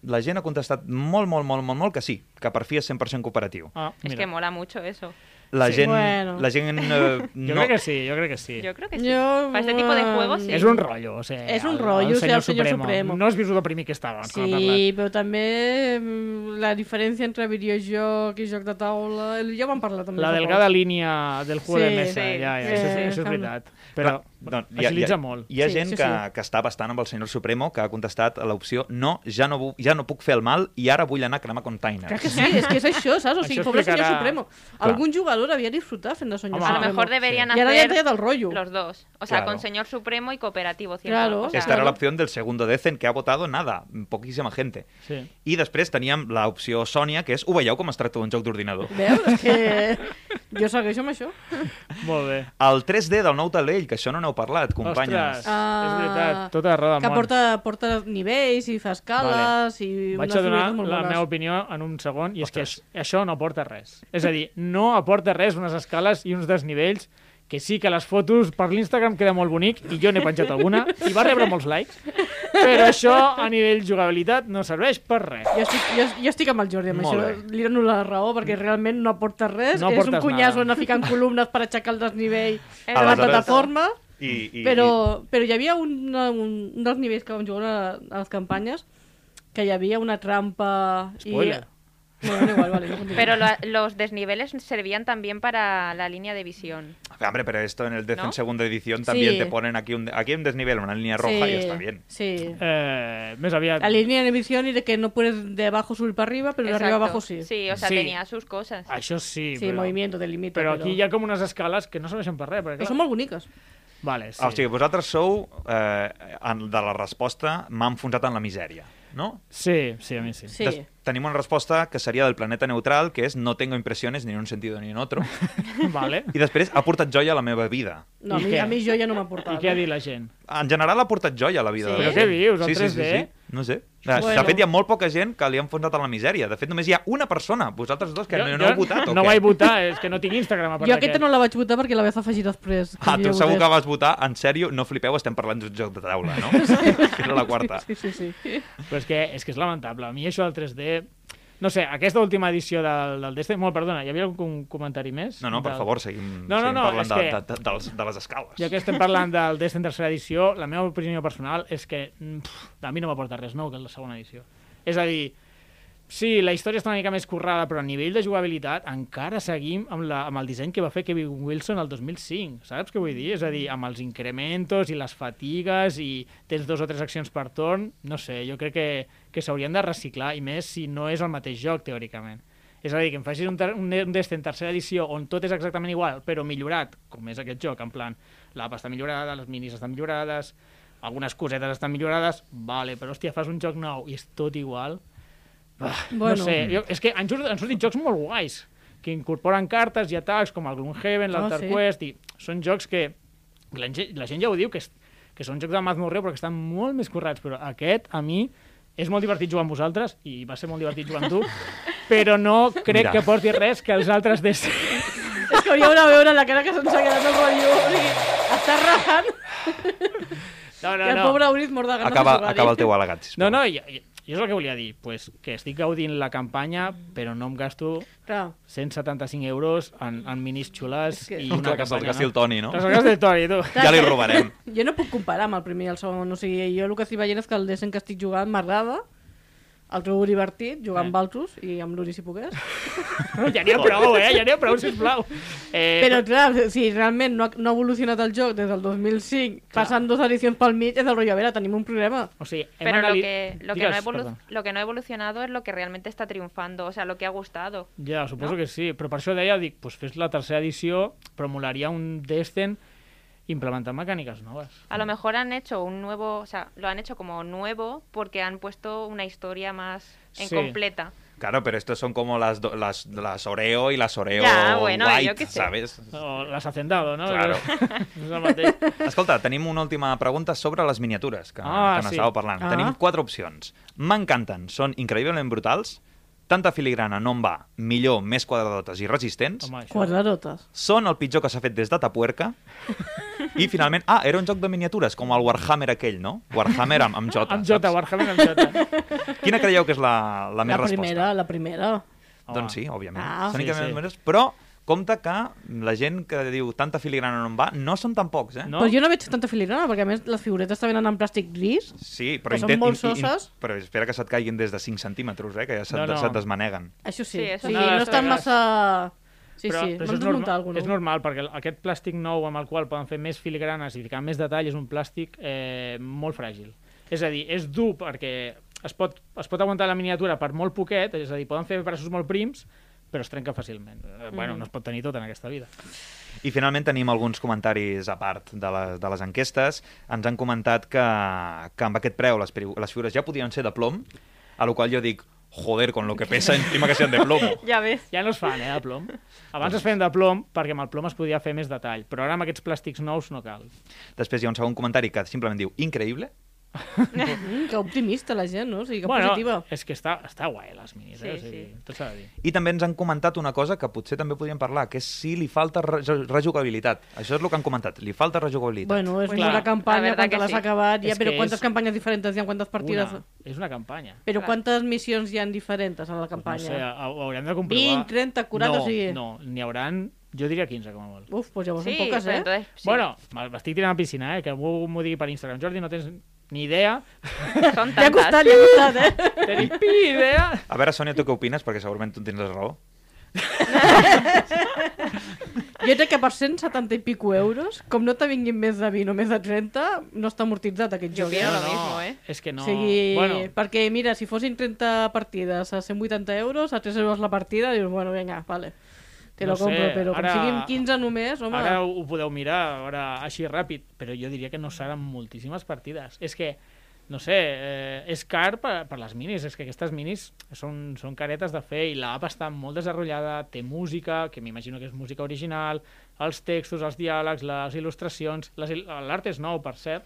[SPEAKER 4] la gent ha contestat molt, molt, molt, molt, molt que sí, que per fi és 100%
[SPEAKER 2] Oh,
[SPEAKER 4] cooperatiu.
[SPEAKER 1] Ah,
[SPEAKER 5] Es que mola mucho eso.
[SPEAKER 4] La
[SPEAKER 2] Sí.
[SPEAKER 4] gent...
[SPEAKER 2] Bueno.
[SPEAKER 4] La gent eh,
[SPEAKER 1] Jo
[SPEAKER 4] no...
[SPEAKER 1] crec que sí, jo crec que sí.
[SPEAKER 5] Yo creo que sí.
[SPEAKER 2] Yo,
[SPEAKER 5] Para este tipo de
[SPEAKER 2] mm,
[SPEAKER 5] juegos, sí.
[SPEAKER 1] És un rotllo, o sigui...
[SPEAKER 2] És un rotllo, o sigui, el senyor Supremo.
[SPEAKER 1] No has vist el primer que estava. quan ha parlat.
[SPEAKER 2] Sí, però també mm, la diferència entre videojoc i joc de taula... Ja ho vam parlar també.
[SPEAKER 1] La
[SPEAKER 2] fa
[SPEAKER 1] delgada
[SPEAKER 2] poc.
[SPEAKER 1] línia del juego
[SPEAKER 2] Sí,
[SPEAKER 1] de mesa,
[SPEAKER 5] sí,
[SPEAKER 1] ja, ja,
[SPEAKER 5] sí,
[SPEAKER 1] això,
[SPEAKER 2] sí,
[SPEAKER 1] és- això és
[SPEAKER 2] calma.
[SPEAKER 1] veritat. Però
[SPEAKER 4] Clar, doncs,
[SPEAKER 1] agilitza molt.
[SPEAKER 4] Hi ha
[SPEAKER 2] Sí,
[SPEAKER 4] gent
[SPEAKER 2] sí,
[SPEAKER 4] que,
[SPEAKER 2] sí.
[SPEAKER 4] que està bastant amb el senyor Supremo, que ha contestat a l'opció no, ja no, vu- ja no puc fer el mal i ara vull anar a cremar containers.
[SPEAKER 2] Clar que sí, és que és això, saps? O sigui,
[SPEAKER 1] Això
[SPEAKER 2] pobre senyor
[SPEAKER 1] explicarà-
[SPEAKER 2] Supremo. Algun jugador havia disfrutat fent de senyor
[SPEAKER 1] Home,
[SPEAKER 5] A
[SPEAKER 2] Supremo.
[SPEAKER 5] lo mejor deberían
[SPEAKER 2] Y ahora ya han
[SPEAKER 5] hacer
[SPEAKER 2] tallado el rollo.
[SPEAKER 5] los dos. O sea,
[SPEAKER 4] Claro.
[SPEAKER 5] con señor supremo y cooperativo. cien
[SPEAKER 2] Claro.
[SPEAKER 5] por- o sea,
[SPEAKER 4] Esta era la opció del segundo decen que ha votat nada, poquíssima gente.
[SPEAKER 1] Sí.
[SPEAKER 4] I després teníem l'opció Sònia, que és ho veieu com es tracta d'un joc d'ordinador.
[SPEAKER 2] Veus? És que... Jo segueixo amb això.
[SPEAKER 1] Molt bé.
[SPEAKER 4] El 3D del nou talell, que això no n'heu parlat, companyes.
[SPEAKER 1] Ostres, és veritat, tota roda del
[SPEAKER 2] que
[SPEAKER 1] món.
[SPEAKER 2] porta, porta nivells i fa escales vale. i
[SPEAKER 1] Vaig a
[SPEAKER 2] unes
[SPEAKER 1] donar
[SPEAKER 2] figures molt
[SPEAKER 1] la
[SPEAKER 2] bones.
[SPEAKER 1] meva opinió en un segon, i és que
[SPEAKER 4] Ostres.
[SPEAKER 1] aix- això no aporta res. És a dir, no aporta res unes escales i uns desnivells que sí que les fotos per l'Instagram queda molt bonic i jo n'he penjat alguna i va rebre molts likes, però això a nivell jugabilitat no serveix per res.
[SPEAKER 2] Jo estic, jo, jo estic amb el Jordi amb
[SPEAKER 4] Molt
[SPEAKER 2] això,
[SPEAKER 4] bé.
[SPEAKER 2] li dono la raó, perquè realment no aporta res,
[SPEAKER 1] No
[SPEAKER 2] és un
[SPEAKER 1] aportes
[SPEAKER 2] cunyazo
[SPEAKER 1] nada.
[SPEAKER 2] anar ficant columnes per aixecar el desnivell
[SPEAKER 1] (laughs)
[SPEAKER 5] Eh,
[SPEAKER 2] a la
[SPEAKER 4] Aleshores-
[SPEAKER 2] plataforma,
[SPEAKER 4] I, i,
[SPEAKER 2] però, però hi havia un, un, un dels nivells que vam jugar a, a les campanyes, que hi havia una trampa...
[SPEAKER 1] Spoiler.
[SPEAKER 2] I... Bueno, da igual, vale, jo continuo.
[SPEAKER 5] Pero
[SPEAKER 2] (laughs)
[SPEAKER 5] la- los desniveles servían también para la línea de visión.
[SPEAKER 4] i- Hombre, pero esto en el Death en
[SPEAKER 5] ¿No?
[SPEAKER 4] segunda edición
[SPEAKER 2] Sí.
[SPEAKER 4] también te ponen aquí un, aquí un desnivel, una línea roja y está bien.
[SPEAKER 2] Sí.
[SPEAKER 1] Eh, més aviat...
[SPEAKER 2] La línea de emisión y de que no puedes de abajo subir para arriba, pero de arriba
[SPEAKER 5] Exacto.
[SPEAKER 2] abajo sí.
[SPEAKER 5] Sí, o sea,
[SPEAKER 1] Sí. Ah,
[SPEAKER 5] tenía sus cosas.
[SPEAKER 1] Això sí,
[SPEAKER 2] Sí,
[SPEAKER 1] però...
[SPEAKER 2] movimiento, te limita.
[SPEAKER 1] Però aquí hi ha com unes escales que no serveixen per res. Perquè,
[SPEAKER 2] Però
[SPEAKER 1] clar...
[SPEAKER 2] són molt boniques.
[SPEAKER 1] Vale, sí.
[SPEAKER 4] O sigui, vosaltres sou, eh, en, de la resposta, m'ha enfonsat en la misèria, no?
[SPEAKER 1] sí, sí, a mi
[SPEAKER 2] (laughs)
[SPEAKER 1] sí.
[SPEAKER 2] Sí.
[SPEAKER 4] Des- tenim una resposta que seria del planeta neutral, que és no tengo impressiones ni en un sentido ni
[SPEAKER 2] (laughs)
[SPEAKER 4] en otro.
[SPEAKER 1] Vale.
[SPEAKER 4] I després ha portat joia a la meva vida.
[SPEAKER 2] No, a
[SPEAKER 1] I
[SPEAKER 2] mi,
[SPEAKER 1] què?
[SPEAKER 2] a mi jo ja no m'ha portat.
[SPEAKER 1] I què ha dit la gent?
[SPEAKER 4] En general ha portat joia a la vida.
[SPEAKER 2] Sí?
[SPEAKER 4] de la
[SPEAKER 1] Però
[SPEAKER 4] gent.
[SPEAKER 1] què dius, el
[SPEAKER 4] Sí, sí, sí,
[SPEAKER 1] 3D?
[SPEAKER 4] sí. No sé. De,
[SPEAKER 2] Bueno.
[SPEAKER 4] de fet, hi ha molt poca gent que li han enfonsat en la misèria. De fet, només hi ha una persona, vosaltres dos, que no, no heu votat. o
[SPEAKER 1] No
[SPEAKER 4] què?
[SPEAKER 1] vaig votar, és que no tinc Instagram. A part
[SPEAKER 2] Jo aquesta no la vaig votar perquè la vaig afegir després.
[SPEAKER 4] Ah,
[SPEAKER 2] que
[SPEAKER 4] tu
[SPEAKER 2] jo
[SPEAKER 4] segur que
[SPEAKER 2] votés.
[SPEAKER 4] vas votar, en sèrio, no flipeu, estem parlant d'un joc de taula,
[SPEAKER 2] (laughs)
[SPEAKER 4] no? Que Era la quarta.
[SPEAKER 2] Sí, sí, sí.
[SPEAKER 1] Però és que, és que és lamentable. A mi això del 3D... No sé, aquesta última edició del, del Destiny... Molt, perdona, hi havia algun comentari més?
[SPEAKER 4] No, no, per
[SPEAKER 1] Del-
[SPEAKER 4] favor, seguim,
[SPEAKER 1] No, no,
[SPEAKER 4] seguim
[SPEAKER 1] no,
[SPEAKER 4] parlant
[SPEAKER 1] és
[SPEAKER 4] de,
[SPEAKER 1] que-
[SPEAKER 4] de, de, dels, de les escales.
[SPEAKER 1] Ja que estem parlant del Destiny tercera edició, la meva opinió personal és que mm, pff, a mi no m'aporta res nou que és la segona edició. És a dir, sí, la història està una mica més currada, però a nivell de jugabilitat encara seguim amb, la, amb el disseny que va fer Kevin Wilson el 2005, saps què vull dir? És a dir, amb els incrementos i les fatigues i tens dos o tres accions per torn, no sé, jo crec que, que s'haurien de reciclar, i més si no és el mateix joc, teòricament. És a dir, que em facis un, ter un, un test en tercera edició on tot és exactament igual, però millorat, com és aquest joc, en plan, l'app està millorada, les minis estan millorades, algunes cosetes estan millorades, vale, però hòstia, fas un joc nou i és tot igual. Ah, bueno.
[SPEAKER 2] Bueno.
[SPEAKER 1] No sé, jo, és que han, surt- han sortit jocs molt guais, que incorporen cartes i atacs com el Gloomhaven,
[SPEAKER 2] Ah,
[SPEAKER 1] l'Alter
[SPEAKER 2] sí.
[SPEAKER 1] Quest, i són jocs que la, gent- la gent ja ho diu, que, és, que són jocs de Mazmorreo, però que estan molt més currats, però aquest, a mi, és molt divertit jugar amb vosaltres, i va ser molt divertit jugar
[SPEAKER 2] (laughs)
[SPEAKER 1] amb tu, però no crec
[SPEAKER 4] Mira.
[SPEAKER 1] que aporti res que els altres des...
[SPEAKER 2] És que hauríeu de veure la cara que se'ns ha quedat el rotllo. O sigui, està rajant
[SPEAKER 1] No,
[SPEAKER 2] i
[SPEAKER 1] no,
[SPEAKER 2] el
[SPEAKER 1] no.
[SPEAKER 2] pobre Auris mor de ganes
[SPEAKER 4] Acaba,
[SPEAKER 2] de jugar-hi.
[SPEAKER 4] acaba el teu al·legat, sisplau.
[SPEAKER 1] No, no, i, i, i és el que volia dir, pues, que estic gaudint la campanya, però no em gasto
[SPEAKER 2] Clar.
[SPEAKER 1] 175 euros en, en minis xules
[SPEAKER 2] És que-
[SPEAKER 1] i
[SPEAKER 4] Clar,
[SPEAKER 1] una
[SPEAKER 4] que se'ls
[SPEAKER 1] campanya.
[SPEAKER 4] gasti Em el Toni, no?
[SPEAKER 1] Que se'ls gasti el Toni, tu.
[SPEAKER 4] Ja li robarem.
[SPEAKER 2] Jo no puc comparar amb el primer i el segon. O sigui, jo el que estic veient és que el Desen que estic jugant m'agrada, El trobo divertit, jugar
[SPEAKER 4] Eh.
[SPEAKER 2] amb altres i amb l'Uri si pogués.
[SPEAKER 1] (laughs) Ja n'hi ha prou, eh? Ja n'hi ha prou, sisplau. Eh,
[SPEAKER 2] Però clar, si realment no ha, no ha evolucionat el joc des del 2005, passant dues edicions pel mig, és del rotllo, a veure, tenim un problema.
[SPEAKER 1] O sigui, hem
[SPEAKER 5] Pero lo
[SPEAKER 1] anali-
[SPEAKER 5] que, lo, que no
[SPEAKER 1] Digues,
[SPEAKER 5] ha evolu-
[SPEAKER 1] perdó.
[SPEAKER 5] lo que no ha evolucionado es lo que realmente está triunfando, o sea, lo que ha gustado.
[SPEAKER 1] Ja, suposo que sí, però per això deia, dic, doncs fes la tercera edició, però molaria un Destin implementant mecàniques noves.
[SPEAKER 5] A lo mejor han hecho un nuevo, o sea, lo han hecho como nuevo porque han puesto una historia más
[SPEAKER 1] Sí.
[SPEAKER 5] incompleta.
[SPEAKER 4] Claro, pero estos son como las, do- las, las Oreo y las Oreo
[SPEAKER 5] Ya, bueno, yo
[SPEAKER 4] White,
[SPEAKER 5] qué sé.
[SPEAKER 4] ¿sabes?
[SPEAKER 1] O l'has hacendado, no?
[SPEAKER 4] Claro.
[SPEAKER 1] (laughs) És el mateix.
[SPEAKER 4] Escolta, tenim una última pregunta sobre les miniatures que,
[SPEAKER 1] Ah,
[SPEAKER 4] que
[SPEAKER 1] sí.
[SPEAKER 4] n'estàveu parlant.
[SPEAKER 2] Ah.
[SPEAKER 4] Tenim quatre opcions. M'encanten, són increïblement brutals, tanta filigrana no em va, millor, més quadradotes i resistents,
[SPEAKER 1] Home, això.
[SPEAKER 2] Quadrarotes.
[SPEAKER 4] són el pitjor que s'ha fet des de
[SPEAKER 1] (laughs)
[SPEAKER 4] Tapuerca, i finalment, ah, era un joc de miniatures, com el Warhammer aquell, no? Warhammer amb, amb Jota.
[SPEAKER 1] Amb Jota,
[SPEAKER 4] saps?
[SPEAKER 1] Warhammer amb Jota.
[SPEAKER 4] Quina creieu que és la, la
[SPEAKER 2] La,
[SPEAKER 4] més resposta?
[SPEAKER 2] primera, la primera.
[SPEAKER 4] Doncs sí, òbviament.
[SPEAKER 2] Ah.
[SPEAKER 4] són
[SPEAKER 1] Sí, sí.
[SPEAKER 4] increïblement brutals, però compte que la gent que diu tanta filigrana no em va, no són tan pocs, eh?
[SPEAKER 1] No?
[SPEAKER 2] No? Però Pues jo no veig tanta filigrana, perquè a més les figuretes també venen en plàstic gris.
[SPEAKER 4] Sí, però,
[SPEAKER 2] Que són
[SPEAKER 4] intent-
[SPEAKER 2] molt
[SPEAKER 4] in- in-
[SPEAKER 2] soses.
[SPEAKER 4] però espera que se't caiguin des de 5 centímetres, eh? que ja se't,
[SPEAKER 1] No, no.
[SPEAKER 4] no, no. se't desmaneguen.
[SPEAKER 2] Això sí.
[SPEAKER 5] Sí,
[SPEAKER 2] sí,
[SPEAKER 5] això
[SPEAKER 2] sí
[SPEAKER 1] sí.
[SPEAKER 2] no,
[SPEAKER 1] No,
[SPEAKER 2] no
[SPEAKER 1] les
[SPEAKER 2] estan
[SPEAKER 1] figuretes.
[SPEAKER 2] massa... Sí, sí,
[SPEAKER 1] això
[SPEAKER 2] m'han
[SPEAKER 1] és
[SPEAKER 2] de muntar
[SPEAKER 1] normal,
[SPEAKER 2] alguna.
[SPEAKER 1] és normal, perquè el- aquest plàstic nou amb el qual poden fer més filigranes i ficar més detall és un plàstic eh, molt fràgil. És a dir, és dur perquè es pot, es pot aguantar la miniatura per molt poquet, és a dir, poden fer braços molt prims, però es trenca fàcilment. Mm. Bueno, no es pot tenir tot en aquesta vida.
[SPEAKER 4] I finalment tenim alguns comentaris a part de les, de les enquestes. Ens han comentat que, que amb aquest preu les, pri- les figures ja podien ser de plom, a la qual jo dic, joder, con lo que pesa encima que sean de plomo.
[SPEAKER 5] (laughs) Ya ves.
[SPEAKER 1] Ja no es fan, eh, de plom. Abans es feien de plom perquè amb el plom es podia fer més detall, però ara amb aquests plàstics nous no cal.
[SPEAKER 4] Després hi ha un segon comentari que simplement diu, increïble,
[SPEAKER 2] Mm, que optimista la gent, no? O sigui, que
[SPEAKER 1] bueno,
[SPEAKER 2] positiva.
[SPEAKER 1] és que està, està guai, les minis, eh?
[SPEAKER 5] Sí,
[SPEAKER 1] o sigui,
[SPEAKER 5] sí.
[SPEAKER 1] tot s'ha de dir.
[SPEAKER 4] i també ens han comentat una cosa que potser també podríem parlar, que és si li falta re rejugabilitat. Això és el que han comentat, li falta rejugabilitat.
[SPEAKER 2] Bueno, és
[SPEAKER 1] Pues
[SPEAKER 2] pues una
[SPEAKER 1] clar,
[SPEAKER 5] la
[SPEAKER 2] campanya,
[SPEAKER 5] verdad
[SPEAKER 2] quan
[SPEAKER 5] que
[SPEAKER 2] te l'has
[SPEAKER 5] sí.
[SPEAKER 2] acabat, ja,
[SPEAKER 1] És
[SPEAKER 2] però
[SPEAKER 1] que
[SPEAKER 2] quantes
[SPEAKER 1] és-
[SPEAKER 2] campanyes diferents hi ha, quantes partides...
[SPEAKER 1] Una, és una campanya.
[SPEAKER 2] Però
[SPEAKER 5] Clar.
[SPEAKER 2] quantes missions hi han diferents a la
[SPEAKER 1] No sé,
[SPEAKER 2] campanya?
[SPEAKER 1] ho ho haurem de comprovar.
[SPEAKER 2] 20, 30, 40,
[SPEAKER 1] no,
[SPEAKER 2] o sigui...
[SPEAKER 1] No, n'hi hauran, jo diria 15, com a molt.
[SPEAKER 2] Uf, doncs llavors
[SPEAKER 5] Sí,
[SPEAKER 2] són poques,
[SPEAKER 5] pero
[SPEAKER 2] eh?
[SPEAKER 5] entonces, sí.
[SPEAKER 1] Bueno, me- m'estic tirant a la piscina, eh? Que algú m'ho digui per Instagram. Jordi, no tens ni idea.
[SPEAKER 2] (laughs)
[SPEAKER 1] (laughs)
[SPEAKER 5] son
[SPEAKER 2] Li ha
[SPEAKER 5] tantas.
[SPEAKER 2] costat, li ha costat, eh?
[SPEAKER 1] Tenim pi idea.
[SPEAKER 4] A veure, Sònia, tu què opines? Perquè segurament tu tens la raó.
[SPEAKER 2] (laughs) Jo crec que per 170 i pico euros, com no te vinguin més de 20 o més de 30, no està amortitzat aquest
[SPEAKER 5] Jo
[SPEAKER 2] joc.
[SPEAKER 5] opino
[SPEAKER 2] eh?
[SPEAKER 5] lo mismo, eh.
[SPEAKER 1] És que no...
[SPEAKER 2] O sigui,
[SPEAKER 1] Bueno,
[SPEAKER 2] perquè mira, si fossin 30 partides a 180 euros, a 3 euros la partida, dius, bueno, vinga, vale, te
[SPEAKER 1] No
[SPEAKER 2] lo compro,
[SPEAKER 1] sé,
[SPEAKER 2] però
[SPEAKER 1] ara-
[SPEAKER 2] com siguin 15 només, home...
[SPEAKER 1] Ara ho ho podeu mirar, ara així ràpid, però jo diria que no seran moltíssimes partides. És que, no sé, eh, és car per, per les minis, és que aquestes minis són, són caretes de fer i l'app està molt desenrotllada, té música, que m'imagino que és música original, els textos, els diàlegs, les il·lustracions... les il- L'art és nou, per cert,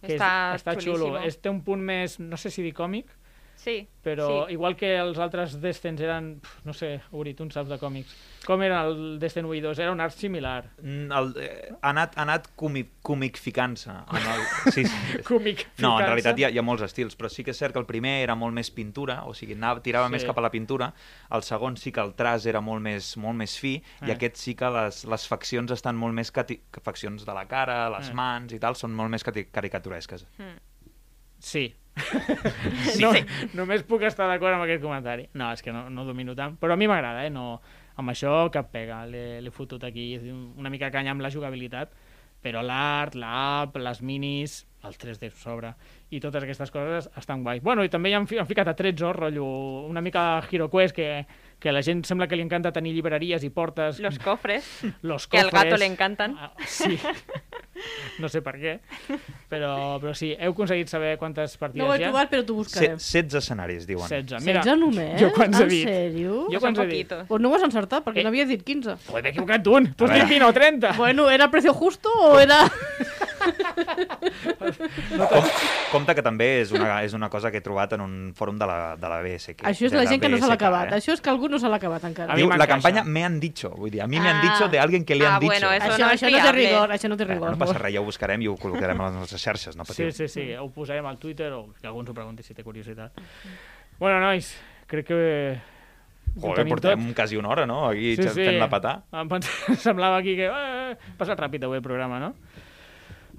[SPEAKER 1] que
[SPEAKER 5] Està
[SPEAKER 1] és, està xulo.
[SPEAKER 5] xulíssimo.
[SPEAKER 1] És, té un punt més, no sé si dir còmic,
[SPEAKER 5] Sí.
[SPEAKER 1] però
[SPEAKER 5] sí.
[SPEAKER 1] sí. igual que els altres Destins eren, pf, no sé, Uri, tu en saps de còmics, com era el Destin 1 i 2? Era un art similar.
[SPEAKER 4] Mm, el, eh, ha anat, ha anat comic, comic-ficant-se. en El... Sí,
[SPEAKER 1] (laughs)
[SPEAKER 4] sí.
[SPEAKER 1] Còmic.
[SPEAKER 4] No, en realitat hi ha, hi ha molts estils, però sí que és cert que el primer era molt més pintura, o sigui, anava, tirava
[SPEAKER 1] Sí.
[SPEAKER 4] sí. més cap a la pintura, el segon sí que el traç era molt més, molt més fi, eh.
[SPEAKER 1] Eh.
[SPEAKER 4] i aquest sí que les, les faccions estan molt més cati... faccions de la cara, les
[SPEAKER 1] Eh.
[SPEAKER 4] eh. mans i tal, són molt més cati... caricaturesques.
[SPEAKER 5] Mm.
[SPEAKER 1] Sí. no, Només puc estar d'acord amb aquest comentari. No, és que no, no domino tant, però a mi m'agrada, eh? No, amb això cap pega. L'he l'he fotut aquí una mica canya amb la jugabilitat, però l'art, l'app, les minis, el 3D sobre i totes aquestes coses estan guais. Bueno, i també hi han, fi- han ficat a 13, rotllo, una mica HeroQuest, que, que a la gent sembla que li encanta tenir llibreries i portes.
[SPEAKER 5] Los cofres.
[SPEAKER 1] (laughs) los
[SPEAKER 5] Que al
[SPEAKER 1] cofres.
[SPEAKER 5] gato le encantan.
[SPEAKER 1] Ah,
[SPEAKER 5] (laughs)
[SPEAKER 1] sí. No sé per què, però, però sí, heu aconseguit saber quantes partides
[SPEAKER 2] No ho he
[SPEAKER 1] hi ha?
[SPEAKER 2] trobat, però t'ho
[SPEAKER 4] Se,
[SPEAKER 2] buscaré.
[SPEAKER 4] 16 escenaris, diuen.
[SPEAKER 1] 16. Mira,
[SPEAKER 2] 16
[SPEAKER 4] eh?
[SPEAKER 2] només?
[SPEAKER 1] Jo
[SPEAKER 4] Ah,
[SPEAKER 1] quants he
[SPEAKER 2] en
[SPEAKER 1] dit?
[SPEAKER 2] sèrio?
[SPEAKER 1] Jo
[SPEAKER 5] Son
[SPEAKER 1] quants he dit?
[SPEAKER 5] poquitos.
[SPEAKER 2] Pues no ho has encertat, perquè
[SPEAKER 1] Eh.
[SPEAKER 2] eh. n'havia dit 15.
[SPEAKER 1] Joder, m'he equivocat d'un. Tu has dit 20 o 30.
[SPEAKER 2] Bueno, ¿era precio justo o era...?
[SPEAKER 1] (laughs)
[SPEAKER 4] Com, compte que també és una, és una cosa que he trobat en un fòrum de la, de la BSK.
[SPEAKER 2] Això és
[SPEAKER 4] de
[SPEAKER 2] la gent que no se l'ha
[SPEAKER 4] BSK,
[SPEAKER 2] acabat. Això és que algú no se l'ha acabat encara.
[SPEAKER 1] eh. A mi
[SPEAKER 4] Diu, la
[SPEAKER 1] m'encaixa.
[SPEAKER 4] campanya me han dicho, vull dir, a mi me han
[SPEAKER 5] Ah.
[SPEAKER 4] dicho de alguien que le
[SPEAKER 5] Ah,
[SPEAKER 4] han dicho.
[SPEAKER 5] bueno, eso
[SPEAKER 2] Això,
[SPEAKER 5] no es
[SPEAKER 2] això no té
[SPEAKER 5] fiable.
[SPEAKER 2] rigor, això no té rigor.
[SPEAKER 4] Bueno, no passa res, ja ho buscarem i ho col·locarem a les nostres xarxes, no patiu.
[SPEAKER 1] Sí, sí, sí. Ho posarem al Twitter o que algú ens ho pregunti si té curiositat. Bueno, nois, crec que... ho
[SPEAKER 4] Joder,
[SPEAKER 1] tenim
[SPEAKER 4] portem
[SPEAKER 1] tot.
[SPEAKER 4] quasi una hora, no? Aquí sí, sí. fent la patà.
[SPEAKER 1] Em pens- (laughs) semblava aquí que... Eh, eh, passat ràpid avui el programa, no?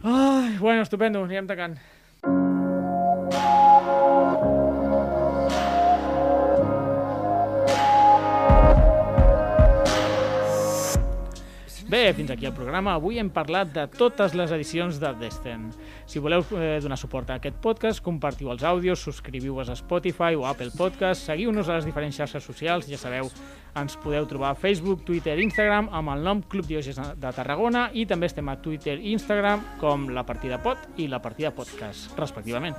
[SPEAKER 1] Ai, bueno, estupendo, anirem tacant. Bé, fins aquí el programa. Avui hem parlat de totes les edicions de Destin. Si voleu eh, donar suport a aquest podcast, compartiu els àudios, subscriviu-vos a Spotify o Apple Podcast, seguiu-nos a les diferents xarxes socials, ja sabeu, ens podeu trobar a Facebook, Twitter, Instagram amb el nom Club Diògenes de Tarragona i també estem a Twitter i Instagram com La Partida Pot i La Partida Podcast, respectivament.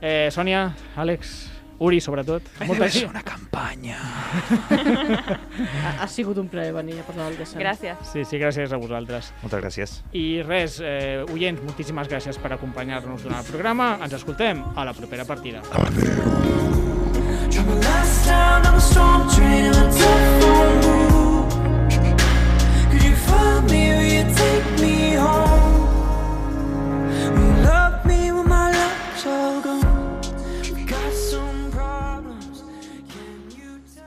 [SPEAKER 1] Eh, Sònia, Àlex, Uri, sobretot. Moltes,
[SPEAKER 2] Ha, ha sigut un plaer venir a parlar del descens.
[SPEAKER 5] Gràcies.
[SPEAKER 1] sí, sí, gràcies a vosaltres.
[SPEAKER 4] Moltes gràcies.
[SPEAKER 1] I res, eh, oients, moltíssimes gràcies per acompanyar-nos durant el programa. Ens escoltem a la propera partida.
[SPEAKER 8] Trouble last down on a storm train and a telephone booth. Could you find me? Will you take me home? Will you love me when my love's all gone? We got some problems. Can you tell?